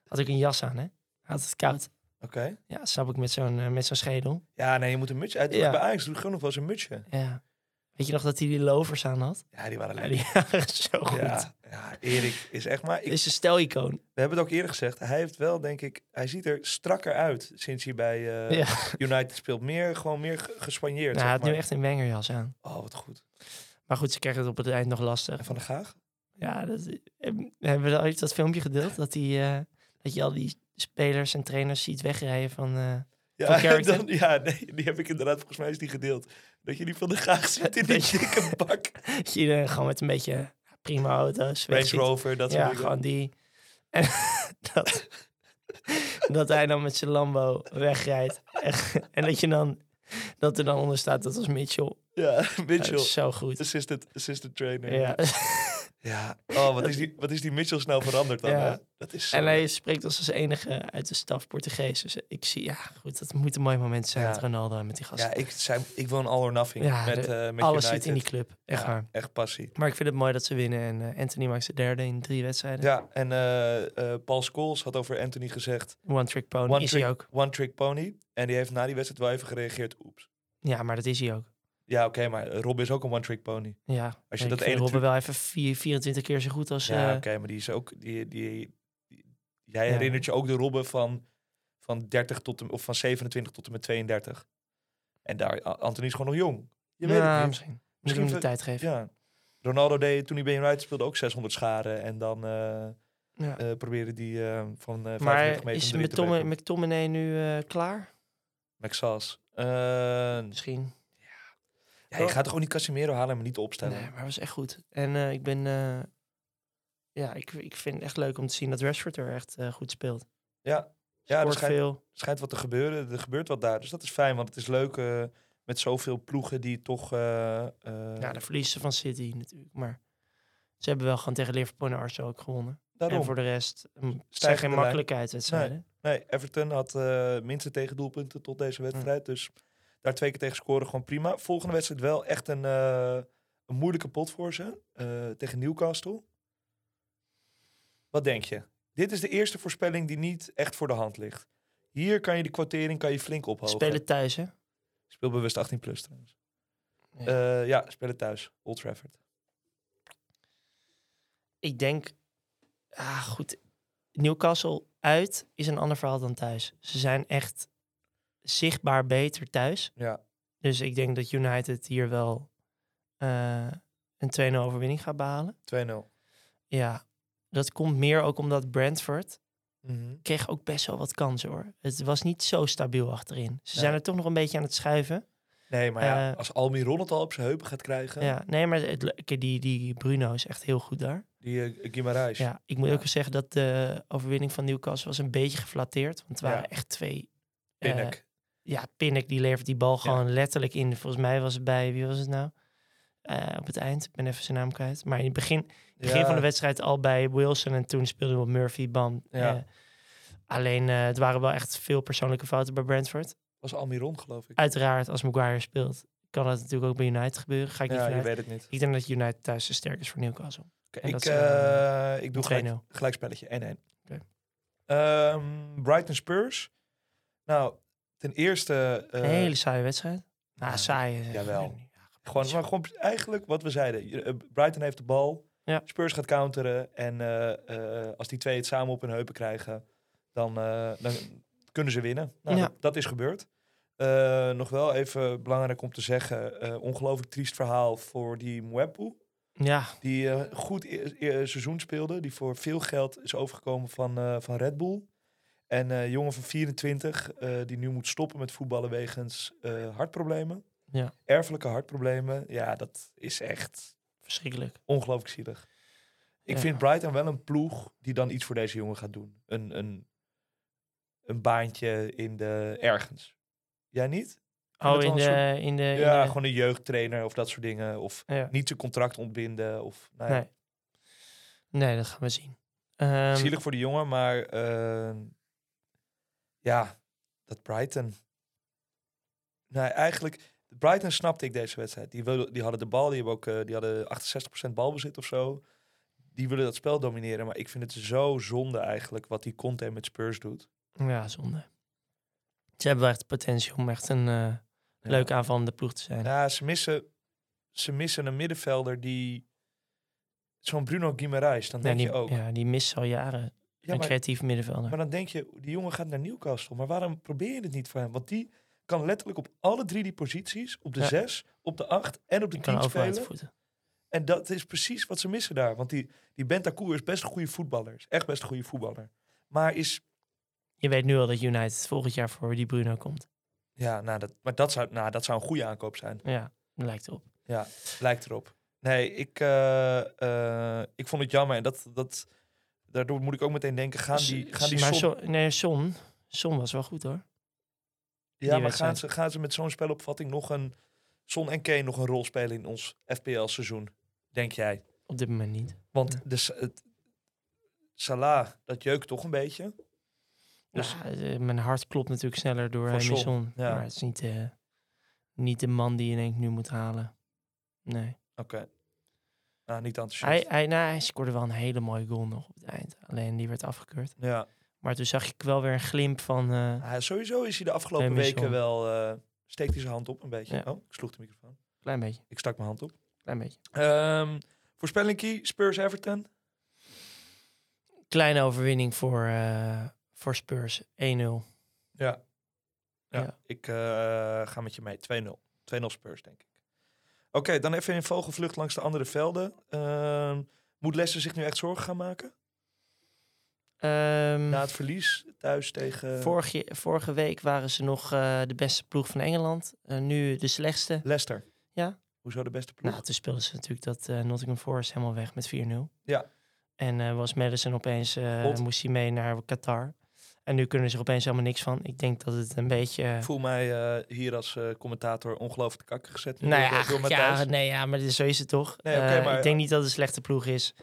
S3: had ook een jas aan, hè? Hij Had het koud.
S2: Oké.
S3: Ja, snap ik met zo'n eh, met zo'n schedel.
S2: Ja, nee, je moet een mutsje uit.
S3: Ja.
S2: Bij Ajax doet gewoon nog wel eens een mutsje.
S3: Ja. Weet je nog dat hij die lovers aan had?
S2: Ja, die waren
S3: Ja,
S2: lekker.
S3: die waren zo goed.
S2: Ja, ja, Erik is echt maar... ik-
S3: Is een stelicoon.
S2: We hebben het ook eerder gezegd. Hij heeft wel, denk ik, hij ziet er strakker uit sinds hij bij eh,
S3: ja.
S2: United speelt. Meer, gewoon meer ge- gespanjeerd.
S3: Nou, hij
S2: zeg
S3: had nu
S2: maar.
S3: echt een wengerjas aan.
S2: Oh, wat goed.
S3: Maar goed, ze kregen het op het eind nog
S2: En
S3: lastig.
S2: Van de Gaag?
S3: Ja, dat, eh, hebben we dat- heeft dat filmpje gedeeld? Dat, die, eh, dat je al die spelers en trainers ziet wegrijden van... eh, Van
S2: Ja,
S3: Carrington?
S2: dan, ja nee, die heb ik inderdaad, volgens mij is die gedeeld. Dat je die Van de Gaag ziet in die
S3: Dat je-
S2: dikke bak.
S3: dat je iedereen gewoon met een beetje eh, prima auto's weg
S2: Range
S3: ziet.
S2: Rover, dat soort
S3: Ja,
S2: dingen.
S3: gewoon die. En dat, dat hij dan met zijn Lambo wegrijdt. En, en dat, je dan, dat er dan onder staat, dat was Mitchell.
S2: Ja,
S3: Dat
S2: Mitchell.
S3: is zo goed.
S2: Assistant, assistant trainer.
S3: Ja.
S2: Ja, oh, wat is, die, wat is die Mitchell snel veranderd dan?
S3: Ja.
S2: hè? Dat is zo
S3: En hij spreekt als als enige uit de staf Portugees. Dus ik zie, ja goed, dat moet een mooi moment zijn
S2: Ja.
S3: met Ronaldo en met die gasten.
S2: Ja, ik, zei, ik wil een all or nothing
S3: Ja,
S2: met,
S3: de-
S2: eh met
S3: Alles
S2: United.
S3: zit in die club, echt
S2: Ja,
S3: waar.
S2: echt passie.
S3: Maar ik vind het mooi dat ze winnen. En eh, Anthony maakt zijn derde in drie wedstrijden.
S2: Ja, en eh, eh, Paul Scholes had over Anthony gezegd...
S3: One trick pony
S2: One
S3: is
S2: trick,
S3: hij ook.
S2: one trick pony. En die heeft na die wedstrijd wel even gereageerd. Oeps.
S3: Ja, maar dat is hij ook.
S2: Ja, oké, maar Rob is ook een one trick pony.
S3: Ja,
S2: Als je
S3: ik
S2: dat ene
S3: vind Robben
S2: truc-
S3: wel even vier, 24 keer zo goed als...
S2: Ja,
S3: eh,
S2: oké, maar die is ook. Die, die, die- jij
S3: Ja.
S2: herinnert je ook de Robben van, van 30 tot en, of van 27 tot en met 32. En daar, A- Anthony is gewoon nog jong. Je weet
S3: nou,
S2: het niet.
S3: misschien. Moet hem de
S2: ver-
S3: tijd geven.
S2: Ja. Ronaldo deed toen hij bij United speelde ook 600 scharen. En dan eh
S3: Ja.
S2: eh, probeerde die eh, van eh 45
S3: maar
S2: meter
S3: is
S2: om erin te
S3: McTomin-
S2: werken.
S3: McTominay nu eh, klaar?
S2: Maxas. Eh, ja,
S3: Misschien.
S2: je gaat toch ook niet Casimiro halen en hem niet opstellen?
S3: Nee, maar hij was echt goed. En eh, ik ben... eh, ja, ik, ik vind het echt leuk om te zien dat Rashford er echt eh, goed speelt.
S2: Ja, ja er
S3: Scoort
S2: schijnt,
S3: veel.
S2: schijnt wat te gebeuren. Er gebeurt wat daar. Dus dat is fijn, want het is leuk eh, met zoveel ploegen die toch... eh, eh,
S3: Ja, de verliezen van City natuurlijk. Maar ze hebben wel gewoon tegen Liverpool en Arsenal ook gewonnen.
S2: daarom.
S3: En voor de rest mm, het zijn
S2: Stijgende
S3: geen
S2: lijn.
S3: makkelijkheidswedstrijden.
S2: Nee, Everton had eh minste tegendoelpunten tot
S3: Hmm.
S2: deze wedstrijd. Dus daar twee keer tegen scoren gewoon prima. Volgende wedstrijd wel echt een, eh, een moeilijke pot voor ze. eh, tegen Newcastle. Wat denk je? Dit is de eerste voorspelling die niet echt voor de hand ligt. Hier kan je de kwartering kan je flink
S3: Ze
S2: ophogen.
S3: Spelen thuis, hè?
S2: Speel bewust 18 plus trouwens.
S3: Ja.
S2: Ja, ja spelen thuis. Old Trafford.
S3: Ik denk, ah, goed. Newcastle uit is een ander verhaal dan thuis. Ze zijn echt zichtbaar beter thuis.
S2: Ja.
S3: Dus ik denk dat United hier wel eh, een 2-0 overwinning gaat behalen.
S2: 2-0.
S3: Ja, dat komt meer ook omdat Brentford
S2: Mhm.
S3: kreeg ook best wel wat kansen hoor. Het was niet zo stabiel achterin. Ze
S2: Nee.
S3: zijn er toch nog een beetje aan het schuiven.
S2: Nee, maar ja,
S3: Eh,
S2: als Almiron het al op zijn heupen gaat krijgen,
S3: Ja, nee, maar het, le- kijk, die, die Bruno is echt heel goed daar.
S2: die eh, Guimarães.
S3: Ja, ik moet
S2: Ja.
S3: ook wel zeggen dat de overwinning van Newcastle was een beetje geflatteerd. Want het
S2: Ja.
S3: waren echt twee... eh,
S2: Pinnock.
S3: ja, Pinnock die levert die bal gewoon letterlijk in. Volgens mij was het bij... Wie was het nou? Eh, op het eind. Ik ben even zijn naam kwijt. Maar in het begin, begin
S2: Ja.
S3: van de wedstrijd al bij Wilson. En toen speelde we op Murphy, bam.
S2: Ja.
S3: Eh, alleen, eh, het waren wel echt veel persoonlijke fouten bij Brentford.
S2: was Almiron, geloof ik.
S3: Uiteraard, als Maguire speelt, kan dat natuurlijk ook bij United gebeuren. Ga ik niet
S2: ja, je
S3: vanuit.
S2: weet het niet.
S3: Ik denk dat United thuis te sterk is voor Newcastle.
S2: Oké,
S3: En dat
S2: ik,
S3: is, eh,
S2: eh, ik doe
S3: 2-0.
S2: gelijk, gelijkspelletje 1-1.
S3: Oké.
S2: Ehm, Brighton Spurs. Nou, ten eerste... eh,
S3: Een hele saaie wedstrijd.
S2: ja,
S3: Nou, saai. eh,
S2: jawel.
S3: gewoon-
S2: Gewoon, maar gewoon eigenlijk wat we zeiden. Je- eh, Brighton heeft de bal.
S3: Ja.
S2: Spurs gaat counteren. En eh, eh, als die twee het samen op hun heupen krijgen, dan, eh, dan kunnen ze winnen. Nou,
S3: Ja.
S2: dat, dat is gebeurd. Eh, nog wel even belangrijk om te zeggen. eh, ongelooflijk triest verhaal voor die Mwepu.
S3: Ja,
S2: Die eh, goed e- e- seizoen speelde. Die voor veel geld is overgekomen van, eh, van Red Bull. En eh, jongen van 24 eh, die nu moet stoppen met voetballen wegens eh, hartproblemen.
S3: Ja.
S2: Erfelijke hartproblemen. Ja, dat is echt
S3: verschrikkelijk.
S2: ongelooflijk zielig. Ik
S3: Ja.
S2: vind Brighton wel een ploeg die dan iets voor deze jongen gaat doen. Een, een, een baantje in de ergens. Jij niet?
S3: Oh,
S2: dat
S3: in
S2: wel
S3: de,
S2: een
S3: in de... in
S2: ja,
S3: de-
S2: gewoon een jeugdtrainer of dat soort dingen. Of
S3: ja.
S2: niet zijn contract ontbinden. Of, nou ja.
S3: Nee. Nee, dat gaan we zien. Ehm,
S2: Zielig voor de jongen, maar eh, ja, dat Brighton. Nee, eigenlijk, Brighton snapte ik deze wedstrijd. Die, wilde, die hadden de bal, die, hebben ook, eh, die hadden 68% balbezit of zo. Die willen dat spel domineren, maar ik vind het zo zonde eigenlijk wat die Conte met Spurs doet.
S3: Ja, zonde. Ze hebben wel echt het potentie om echt een eh
S2: Ja.
S3: leuke aanvallende ploeg te zijn.
S2: Ja, ze missen, ze missen een middenvelder die... Zo'n Bruno Guimaraes, dan
S3: Ja,
S2: denk
S3: die,
S2: je ook. Ja,
S3: ja, die mist al jaren. een
S2: maar
S3: creatief middenvelder.
S2: Maar dan denk je, die jongen gaat naar Newcastle. Maar waarom probeer je het niet voor hem? Want die kan letterlijk op alle drie die posities, op de
S3: Ja.
S2: zes, op de acht en op de
S3: die kan
S2: tien
S3: overal uit de
S2: spelen.
S3: voeten.
S2: En dat is precies wat ze missen daar. Want die, die Bentancur is best een goede voetballer. Is echt best een goede voetballer. Maar is,
S3: Je weet nu al dat United volgend jaar voor die Bruno komt.
S2: ja, nou dat, maar dat zou, nou, dat zou een goede aankoop zijn.
S3: Ja, lijkt op.
S2: Ja, lijkt erop. Nee, ik, eh, eh, ik vond het jammer. En dat, dat, daardoor moet ik ook meteen denken, gaan die, gaan die
S3: Dus maar
S2: Son-
S3: Son- nee, Son, Son was wel goed hoor.
S2: Ja, maar
S3: wedstrijd.
S2: gaan ze, gaan ze met zo'n spelopvatting nog een... Son en Kane nog een rol spelen in ons FPL-seizoen, denk jij?
S3: Op dit moment niet.
S2: Want de, s- het, Salah, dat jeukt toch een beetje? Dus-
S3: Ja, eh, mijn hart klopt natuurlijk sneller door
S2: Voor Son,
S3: Emerson.
S2: ja.
S3: Maar het is niet, eh, niet de man die je denkt nu moet halen. Nee.
S2: Oké. Nou, niet enthousiast.
S3: Hij, hij, nou, hij scoorde wel een hele mooie goal nog op het eind. Alleen die werd afgekeurd.
S2: Ja.
S3: Maar toen zag ik wel weer een glimp van... eh,
S2: Hij- sowieso is hij de afgelopen
S3: Nee, Michel.
S2: weken wel... eh, steekt hij zijn hand op een beetje.
S3: Ja.
S2: Oh, ik sloeg de microfoon.
S3: klein beetje,
S2: Ik stak mijn hand op.
S3: klein beetje.
S2: Ehm voorspelling key, Spurs-Everton.
S3: Kleine overwinning voor, eh, voor Spurs. 1-0.
S2: Ja. ja.
S3: Ja.
S2: Ik eh, ga met je mee. 2-0. 2-0 Spurs, denk ik. Oké, dan even in vogelvlucht langs de andere velden. Ehm, moet Leicester zich nu echt zorgen gaan maken?
S3: Ehm,
S2: Na het verlies thuis
S3: eh,
S2: tegen
S3: vorige, vorige week waren ze nog eh, de beste ploeg van Engeland. Eh, nu de slechtste.
S2: Leicester?
S3: Ja.
S2: Hoezo de beste ploeg?
S3: Nou, toen speelden ze natuurlijk dat eh, Nottingham Forest helemaal weg met 4-0.
S2: Ja.
S3: En eh, was Madison opeens, eh,
S2: Hot.
S3: moest hij mee naar Qatar. En nu kunnen ze er opeens helemaal niks van. Ik denk dat het een beetje... eh,
S2: Ik voel mij eh, hier als eh, commentator ongelooflijk de kakker gezet. nu
S3: nou
S2: door-
S3: ja,
S2: door Matthijs.
S3: ja, nee, ja, maar zo is het toch.
S2: Nee, oké,
S3: Eh,
S2: maar-
S3: ik denk niet dat het een slechte ploeg is.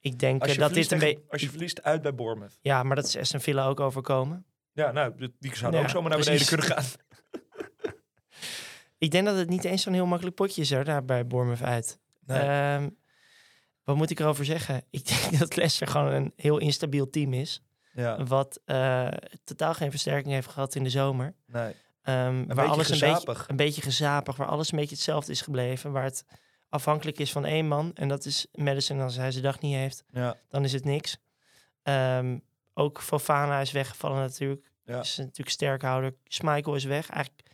S3: Ik denk
S2: als,
S3: eh,
S2: je
S3: dat dit een
S2: verliest
S3: beetje...
S2: tegen- als je verliest uit bij Bournemouth.
S3: Ja, maar dat is Aston Villa ook overkomen.
S2: Ja, nou, die zouden
S3: Ja,
S2: ook zomaar naar
S3: precies.
S2: beneden kunnen gaan.
S3: Ik denk dat het niet eens zo'n heel makkelijk potje is hoor, daar bij Bournemouth uit.
S2: Nee.
S3: Ehm, wat moet ik erover zeggen? Ik denk dat Leicester gewoon een heel instabiel team is.
S2: Ja,
S3: Wat eh, totaal geen versterking heeft gehad in de zomer.
S2: nee.
S3: Ehm, waar
S2: beetje
S3: alles een beetje,
S2: gezapig.
S3: een beetje gezapig, waar alles een beetje hetzelfde is gebleven. Waar het afhankelijk is van één man. En dat is Madison. Als hij zijn dag niet heeft,
S2: Ja,
S3: dan is het niks. Ehm, ook Fofana is weggevallen natuurlijk.
S2: Ja.
S3: Is natuurlijk sterkhouder. Schmeichel is weg. Eigenlijk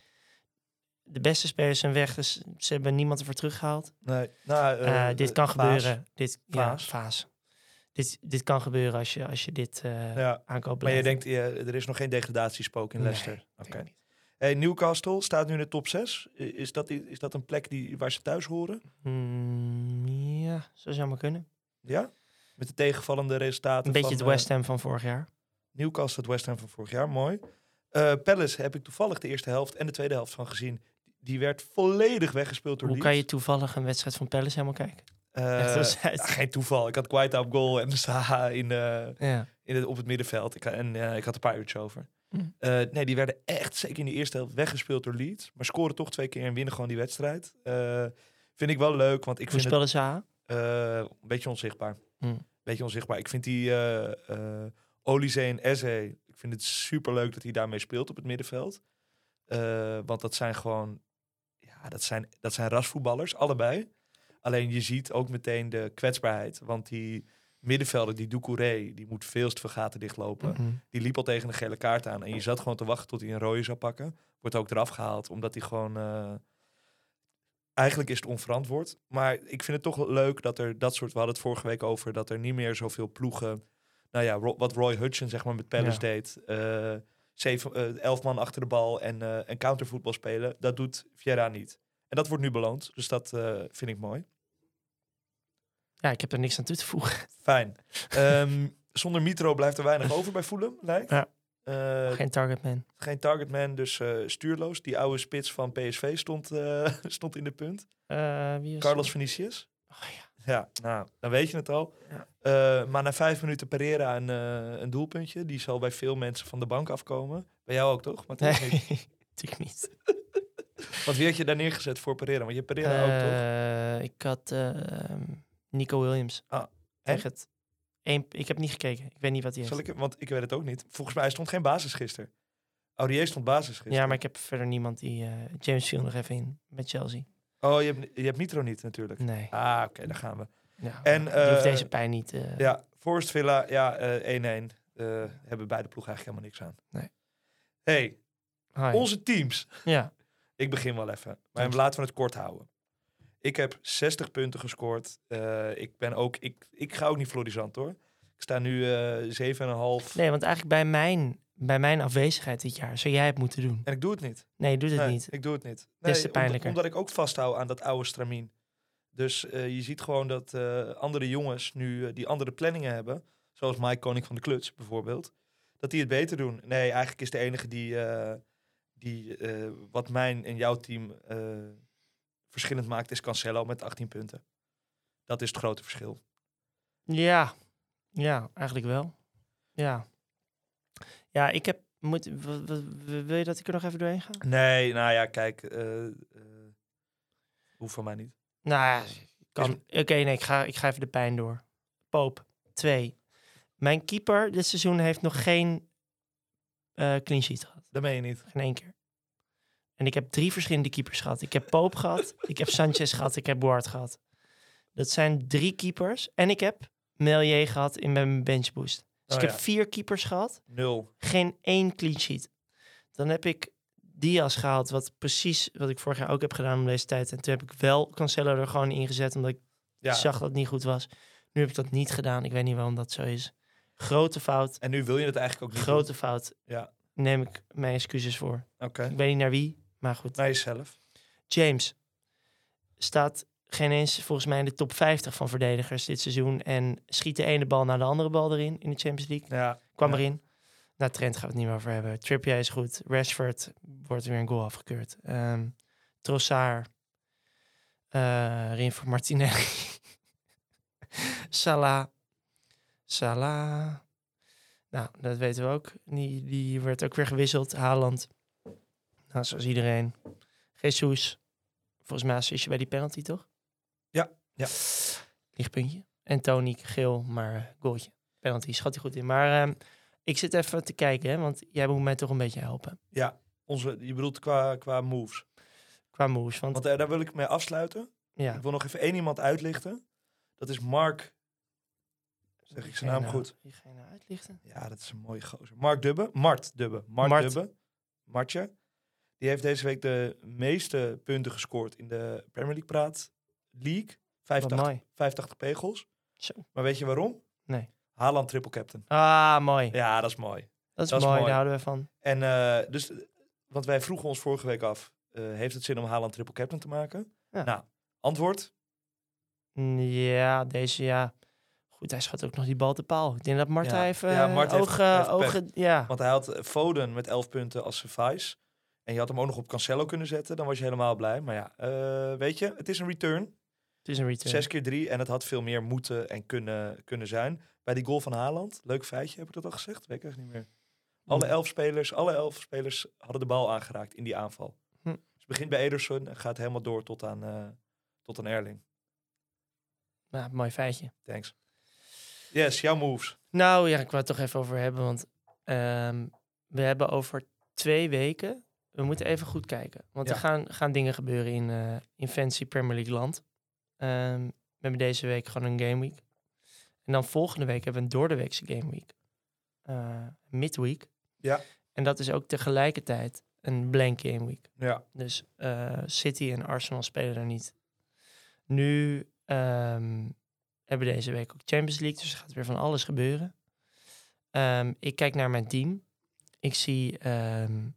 S3: de beste spelers zijn weg. Dus ze hebben niemand ervoor teruggehaald.
S2: nee. Nou, eh,
S3: Eh, dit kan
S2: Paas.
S3: gebeuren. Dit,
S2: Vaas.
S3: Ja, Vaas. Dit, dit kan gebeuren als je, als je dit eh
S2: Ja.
S3: aankoopt.
S2: Maar je denkt, ja, er is nog geen degradatiespook in
S3: Nee,
S2: Leicester. Oké.
S3: denk ik niet.
S2: Hey, Newcastle staat nu in de top 6. Is dat, is dat een plek die, waar ze thuis horen?
S3: Hmm, ja, zo zou maar kunnen.
S2: Ja? Met de tegenvallende resultaten.
S3: Een beetje
S2: van,
S3: het West Ham van vorig jaar.
S2: eh, Newcastle, het West Ham van vorig jaar, mooi. Eh Palace heb ik toevallig de eerste helft en de tweede helft van gezien. Die werd volledig weggespeeld door
S3: Hoe kan je
S2: Leeds.
S3: toevallig een wedstrijd van Palace helemaal kijken?
S2: Eh,
S3: Echt, dat is uit-
S2: ja, geen toeval. Ik had Guaita op goal en Saha in, eh,
S3: ja.
S2: in het, op het middenveld. Ik, en eh, ik had een paar uurtjes over.
S3: Hm.
S2: Eh, nee, die werden echt zeker in de eerste helft weggespeeld door Leeds. Maar scoren toch twee keer en winnen gewoon die wedstrijd. Eh, vind ik wel leuk, want ik
S3: Hoe
S2: vind het
S3: spelen ze aan?
S2: eh, een beetje onzichtbaar.
S3: Hm.
S2: beetje onzichtbaar. Ik vind die eh eh Olise en Eze, ik vind het super leuk dat hij daarmee speelt op het middenveld. Eh, want dat zijn gewoon, ja, dat zijn, dat zijn rasvoetballers, allebei. Alleen je ziet ook meteen de kwetsbaarheid. Want die middenvelder, die Doucouré, die moet veel te vergaten dichtlopen
S3: Mhm.
S2: die liep al tegen een gele kaart aan. En je zat gewoon te wachten tot hij een rode zou pakken. Wordt ook eraf gehaald, omdat hij gewoon... eh, Eigenlijk is het onverantwoord. Maar ik vind het toch leuk dat er dat soort... We hadden het vorige week over dat er niet meer zoveel ploegen... Nou ja, Ro- wat Roy Hudson zeg maar met Palace
S3: Ja.
S2: deed. eh, zeven, eh, elf man achter de bal en, eh, en countervoetbal spelen. Dat doet Vieira niet. En dat wordt nu beloond. Dus dat eh, vind ik mooi.
S3: Ja, ik heb er niks aan toe te voegen.
S2: Fijn. Ehm, zonder Mitro blijft er weinig over bij Fulham, lijkt.
S3: Ja.
S2: Eh,
S3: Geen targetman.
S2: geen targetman, dus eh, stuurloos. Die oude spits van PSV stond, eh, stond in de punt.
S3: Eh, wie was
S2: Carlos Vinicius.
S3: Oh, ja.
S2: Ja, nou, dan weet je het al.
S3: Ja.
S2: Eh, maar na vijf minuten Pereira een, eh, een doelpuntje. Die zal bij veel mensen van de bank afkomen. Bij jou ook toch? Want,
S3: Nee, natuurlijk niet.
S2: want wie had je daar neergezet voor Pereira? Want je hebt Pereira ook toch?
S3: Eh, ik had eh, ehm, Nico Williams.
S2: Ah, en?
S3: Tegen het. Eén, ik heb niet gekeken. Ik weet niet wat hij
S2: Zal
S3: heeft.
S2: ik, want ik weet het ook niet. Volgens mij stond geen basis gisteren. Aurier stond basis gisteren.
S3: Ja, maar ik heb verder niemand die... eh, James viel nog even in met Chelsea.
S2: Oh, je hebt, je hebt Mitro niet natuurlijk.
S3: Nee.
S2: Ah, oké, daar gaan we.
S3: Ja,
S2: En,
S3: die Nou, hoeft
S2: eh,
S3: deze pijn niet... eh,
S2: Ja, Forest Villa, ja, eh, 1-1. Eh, hebben beide ploegen eigenlijk helemaal niks aan.
S3: Nee.
S2: hey,
S3: high.
S2: onze teams.
S3: Ja.
S2: Ik begin wel even. Maar
S3: Dank je.
S2: laten we het kort houden. Ik heb 60 punten gescoord. Eh, ik, ben ook, ik, ik ga ook niet florisant hoor. Ik sta nu eh 7,5
S3: Nee, want eigenlijk bij mijn, bij mijn afwezigheid dit jaar zou jij het moeten doen.
S2: en ik doe het niet.
S3: Nee, doe dit
S2: Nee,
S3: niet.
S2: Ik doe het niet.
S3: te
S2: Nee, omdat-
S3: pijnlijker.
S2: Omdat, ik ook vasthoud aan dat oude stramien. Dus eh, je ziet gewoon dat eh, andere jongens nu eh, die andere planningen hebben. Zoals Mike Koning van de Kluts bijvoorbeeld. Dat die het beter doen. Nee, eigenlijk is de enige die, eh, die eh, wat mijn en jouw team eh, verschillend maakt, is Cancelo met 18 punten. Dat is het grote verschil.
S3: Ja, ja, eigenlijk wel. Ja. Ja, ik heb... Moet, w- w- w- wil je dat ik er nog even doorheen ga?
S2: Nee, nou ja, kijk. eh, eh, hoeft van mij niet.
S3: Nou, ja, kan. Oké, nee, ik ga, ik ga even de pijn door. Poop, twee. Mijn keeper dit seizoen heeft nog geen eh clean sheet gehad.
S2: Dat meen je niet.
S3: Geen één keer. En ik heb drie verschillende keepers gehad. Ik heb Poop gehad, ik heb Sanchez gehad, ik heb Ward gehad. Dat zijn drie keepers. En ik heb Melier gehad in mijn benchboost. Dus
S2: Oh
S3: ik
S2: ja.
S3: heb vier keepers gehad
S2: Nul.
S3: geen één clean sheet. Dan heb ik Diaz gehaald. Wat precies wat ik vorig jaar ook heb gedaan om deze tijd. En toen heb ik wel Cancelo er gewoon ingezet. Omdat ik
S2: Ja.
S3: zag dat het niet goed was. Nu heb ik dat niet gedaan. Ik weet niet waarom dat zo is. Grote fout.
S2: En nu wil je het eigenlijk ook niet doen.
S3: Grote fout.
S2: Ja.
S3: Neem ik mijn excuses voor.
S2: Oké.
S3: Ik weet niet naar wie. Maar goed.
S2: Naar jezelf.
S3: James staat geen eens volgens mij in de top 50 van verdedigers dit seizoen. En schiet de ene bal naar de andere bal erin in de Champions League.
S2: Ja.
S3: Kwam
S2: Ja.
S3: erin. Nou, Trent gaan we het niet meer over hebben. Trippier is goed. Rashford wordt weer een goal afgekeurd. Ehm Trossard. eh Rinfo Martinelli. Salah. Salah. Nou, dat weten we ook. Die, die werd ook weer gewisseld. Haaland. Nou, zoals iedereen. Jesus. Volgens mij is je bij die penalty, toch?
S2: Ja, ja.
S3: Lichtpuntje. En Tony, geel, maar eh, goaltje. Penalty, schat hij goed in. Maar ehm, ik zit even te kijken, hè, want jij moet mij toch een beetje helpen.
S2: Onze, je bedoelt qua, qua moves.
S3: Qua moves. Want,
S2: Want eh, daar wil ik mee afsluiten.
S3: ja,
S2: Ik wil nog even één iemand uitlichten. Dat is Mark. Zeg ik zijn naam
S3: nou,
S2: goed?
S3: Die ga je nou uitlichten.
S2: Ja, dat is een mooie gozer. Mark Dubbe. Mart Dubbe. Mart,
S3: Mart.
S2: Dubbe. Martje. Die heeft deze week de meeste punten gescoord in de Premier League Praat League.
S3: Wat
S2: 85,
S3: mooi.
S2: 85 pegels.
S3: Zo.
S2: Maar weet je waarom?
S3: Nee.
S2: Haaland triple captain.
S3: Ah, mooi.
S2: Ja, dat is mooi.
S3: dat is
S2: dat is
S3: mooi,
S2: mooi.
S3: daar houden we van.
S2: En eh, dus, want wij vroegen ons vorige week af, eh, heeft het zin om Haaland triple captain te maken?
S3: Ja.
S2: Nou, antwoord,
S3: Mm, Ja, deze ja. Goed, hij schat ook nog die bal te paal. Ik denk dat Marta
S2: Ja.
S3: even
S2: Ja,
S3: eh,
S2: Marta heeft-
S3: ogen...
S2: heeft pech.
S3: ogen ja.
S2: want hij had eh, Foden met 11 punten als vice. En je had hem ook nog op Cancelo kunnen zetten, dan was je helemaal blij. Maar ja, eh, weet je, het is een return.
S3: Het is een return.
S2: Zes keer drie en het had veel meer moeten en kunnen, kunnen zijn. Bij die goal van Haaland, leuk feitje, heb ik dat al gezegd? Weet ik echt niet meer. Alle elf spelers, alle elf spelers hadden de bal aangeraakt in die aanval.
S3: Hm.
S2: Dus het begint bij Ederson en gaat helemaal door tot aan, eh, tot aan Erling.
S3: Ja, Nou, mooi feitje.
S2: Thanks. Yes, jouw moves.
S3: Nou ja, ik wou het toch even over hebben, want ehm, we hebben over twee weken. We moeten even goed kijken, want
S2: Ja.
S3: er gaan, gaan dingen gebeuren in, eh in fancy Premier League land. Ehm, we hebben deze week gewoon een game week. En dan volgende week hebben we een doordeweekse game week. Eh, midweek.
S2: Ja.
S3: En dat is ook tegelijkertijd een blank game week.
S2: Ja.
S3: Dus eh, City en Arsenal spelen er niet. Nu ehm, hebben we deze week ook Champions League, dus er gaat weer van alles gebeuren. Ehm, ik kijk naar mijn team. Ik zie ehm,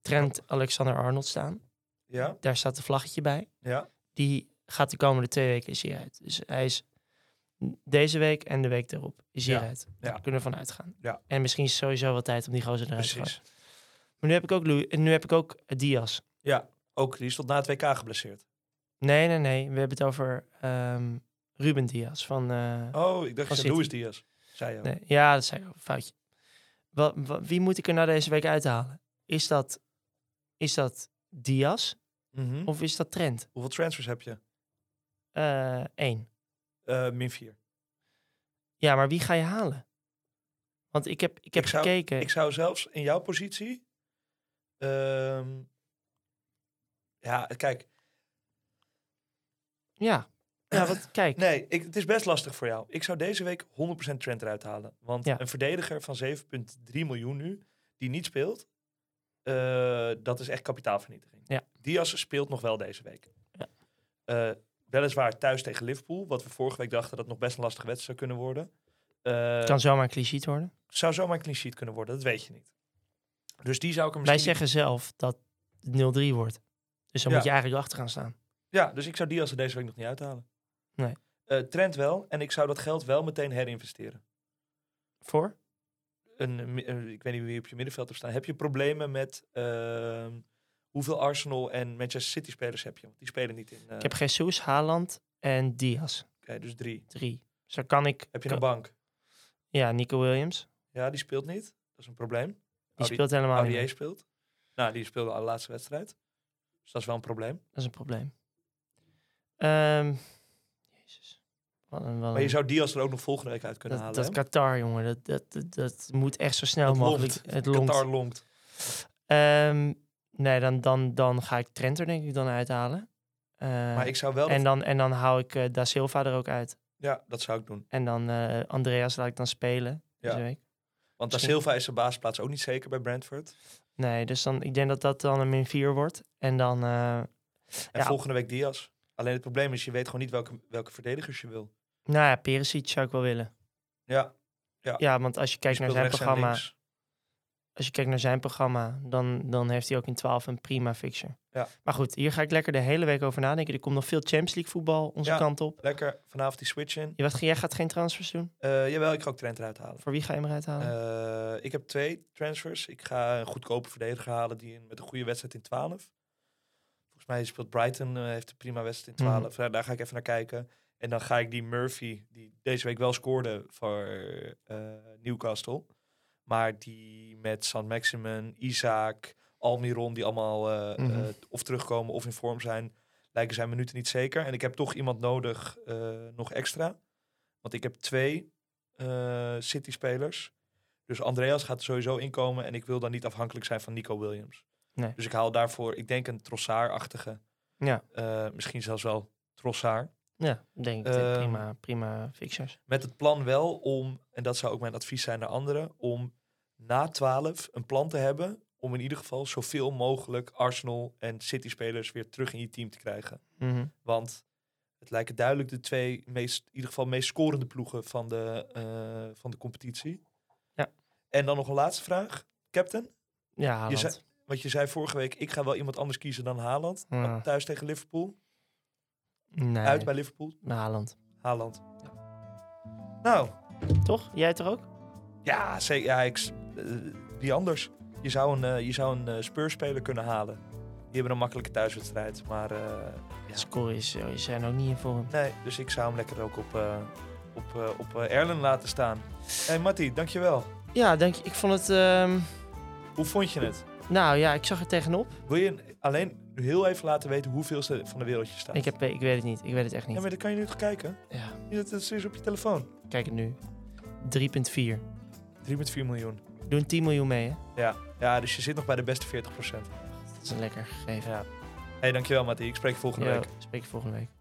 S3: Trent Alexander-Arnold staan.
S2: Ja?
S3: Daar staat een vlaggetje bij.
S2: Ja?
S3: Die gaat de komende twee weken is hij uit. Dus hij is deze week en de week daarop is hij
S2: Ja,
S3: eruit.
S2: ja.
S3: Daar kunnen we van uitgaan.
S2: Ja.
S3: En misschien is het sowieso wel tijd om die gozer eruit te gaan.
S2: Precies.
S3: Maar nu heb ik ook, Lu- nu heb ik ook Diaz.
S2: Ja. Ook, die stond na het WK geblesseerd.
S3: Nee, nee, nee. We hebben het over ehm, Ruben Diaz van... eh,
S2: Oh, ik dacht,
S3: Van
S2: je zei
S3: City.
S2: Luis Diaz. Zei je.
S3: nee. Ja, dat zei ik al, foutje. Wat, wa- wie moet ik er nou deze week uithalen? Is dat, is dat Diaz
S2: Mhm.
S3: of is dat Trent?
S2: Hoeveel transfers heb je?
S3: Eén.
S2: Eh, min 4.
S3: Ja, maar wie ga je halen? Want ik heb, ik heb
S2: Ik zou-
S3: gekeken.
S2: Ik zou zelfs in jouw positie... ehm, ja, kijk.
S3: Ja. ja, want kijk.
S2: Nee, ik, het is best lastig voor jou. Ik zou deze week 100% Trent eruit halen. Want
S3: Ja.
S2: een verdediger van 7,3 miljoen nu, die niet speelt... eh, dat is echt kapitaalvernietiging.
S3: Ja.
S2: Diaz speelt nog wel deze week.
S3: Ja.
S2: Eh, weliswaar thuis tegen Liverpool, wat we vorige week dachten dat nog best een lastige wedstrijd zou kunnen worden. Eh,
S3: Het kan zomaar een cliché worden.
S2: Zou zomaar een clean sheet kunnen worden, dat weet je niet. Dus die zou ik er
S3: Wij
S2: misschien...
S3: zeggen zelf dat het 0-3 wordt. Dus dan
S2: Ja.
S3: moet je eigenlijk achter gaan staan.
S2: Ja, dus ik zou Diaz er deze week nog niet uithalen.
S3: Nee.
S2: Eh, Trent wel, en ik zou dat geld wel meteen herinvesteren.
S3: Voor?
S2: een, eh, mi- eh, ik weet niet wie op je middenveld hebt staan. Heb je problemen met ehm, hoeveel Arsenal en Manchester City spelers heb je? Want die spelen niet in. eh,
S3: Ik heb Jesus, Haaland en Diaz.
S2: oké, dus drie.
S3: Drie. Dus dan kan ik...
S2: Heb je een bank?
S3: Ja, Nico Williams.
S2: Ja, die speelt niet. Dat is een probleem.
S3: Die
S2: Audi-
S3: speelt helemaal niet.
S2: Aurier
S3: meer.
S2: speelt. Nou, die speelde al de laatste wedstrijd. Dus dat is wel een probleem.
S3: Dat is een probleem. Ehm, Jezus. Wat een, wat
S2: Maar je
S3: een-
S2: zou Diaz er ook nog volgende week uit kunnen
S3: dat,
S2: halen.
S3: dat Qatar, jongen, dat, dat, dat, dat moet echt zo snel
S2: Dat
S3: mogelijk.
S2: longt.
S3: Het
S2: hè?
S3: longt.
S2: Qatar longt.
S3: Ehm, nee, dan, dan, dan ga ik Trent er denk ik dan uithalen. Eh,
S2: Maar ik zou wel...
S3: en, dan, en dan hou ik eh, Da Silva er ook uit.
S2: Ja, dat zou ik doen.
S3: En dan eh, Andreas laat ik dan spelen
S2: Ja.
S3: deze week.
S2: Want Da
S3: Misschien-
S2: Silva is zijn basisplaats ook niet zeker bij Brentford.
S3: Nee, dus dan, ik denk dat dat dan een min 4 wordt. En dan, eh,
S2: En
S3: Ja.
S2: volgende week Diaz. Alleen het probleem is, je weet gewoon niet welke, welke verdedigers je wil.
S3: nou ja, Perisic zou ik wel willen.
S2: Ja,
S3: Ja, want als je
S2: die
S3: kijkt naar
S2: speelt
S3: zijn
S2: rechts en
S3: programma,
S2: links.
S3: als je kijkt naar zijn programma, dan, dan heeft hij ook in 12 een prima fixture.
S2: Ja.
S3: Maar goed, hier ga ik lekker de hele week over nadenken. Er komt nog veel Champions League voetbal onze
S2: Ja.
S3: kant op.
S2: Lekker, vanavond die switch in.
S3: Je, wat, jij gaat geen transfers doen?
S2: Eh, jawel, ik ga ook Trent eruit halen.
S3: Voor wie ga je hem eruit halen?
S2: Eh, ik heb twee transfers. Ik ga een goedkope verdediger halen die een- met een goede wedstrijd in 12. Volgens mij speelt Brighton, eh, heeft een prima wedstrijd in
S3: Mhm.
S2: 12. Nou, daar ga ik even naar kijken. En dan ga ik die Murphy, die deze week wel scoorde voor eh, Newcastle. Maar die met San Maximin, Isaac, Almiron, die allemaal eh,
S3: Mhm.
S2: eh, of terugkomen of in vorm zijn, lijken zijn minuten niet zeker. En ik heb toch iemand nodig, eh, nog extra. Want ik heb twee eh, City-spelers. Dus Andreas gaat er sowieso inkomen en ik wil dan niet afhankelijk zijn van Nico Williams.
S3: Nee.
S2: Dus ik haal daarvoor, ik denk een Trossard-achtige.
S3: Ja.
S2: Eh, misschien zelfs wel Trossard.
S3: ja, denk ik.
S2: ehm,
S3: prima, prima fixtures.
S2: Met het plan wel om, en dat zou ook mijn advies zijn naar anderen, om na 12 een plan te hebben om in ieder geval zoveel mogelijk Arsenal en City-spelers weer terug in je team te krijgen.
S3: Mhm.
S2: Want het lijken duidelijk de twee meest, in ieder geval meest scorende ploegen van de, eh, van de competitie.
S3: Ja.
S2: En dan nog een laatste vraag. Captain,
S3: Ja,
S2: je
S3: Haaland.
S2: zei- want je zei vorige week, ik ga wel iemand anders kiezen dan Haaland.
S3: Ja.
S2: Maar Thuis tegen Liverpool,
S3: nee,
S2: uit bij Liverpool,
S3: Haaland.
S2: Haaland. Nou,
S3: Toch? Jij toch ook?
S2: ja, zeker, ja ik, s- eh, wie anders? Je zou een, eh, je zou een eh, Spurs-speler kunnen halen. Die hebben een makkelijke thuiswedstrijd, maar... eh,
S3: De score is, is zijn ook nou niet in vorm.
S2: Nee, dus ik zou hem lekker ook op, eh, op, eh, op eh, Erlen laten staan. Hé hey, Matty, dankjewel.
S3: Ja, denk, ik vond het... ehm,
S2: Hoe vond je het?
S3: nou ja, ik zag er tegenop.
S2: Wil je alleen heel even laten weten hoeveelste van de wereldje staat?
S3: Ik, heb, eh, ik weet het niet. Ik weet het echt
S2: Ja,
S3: niet.
S2: maar dan kan je nu toch kijken?
S3: Ja,
S2: Je zit- Dat is op je telefoon.
S3: kijk het nu. 3,4.
S2: 3,4 miljoen.
S3: Doen 10 miljoen mee, hè?
S2: Ja, dus je zit nog bij de beste 40%. Hé,
S3: Dat is een lekker gegeven.
S2: hey, dankjewel Matty. Ik spreek je volgende
S3: Ja,
S2: week.
S3: spreek je volgende week.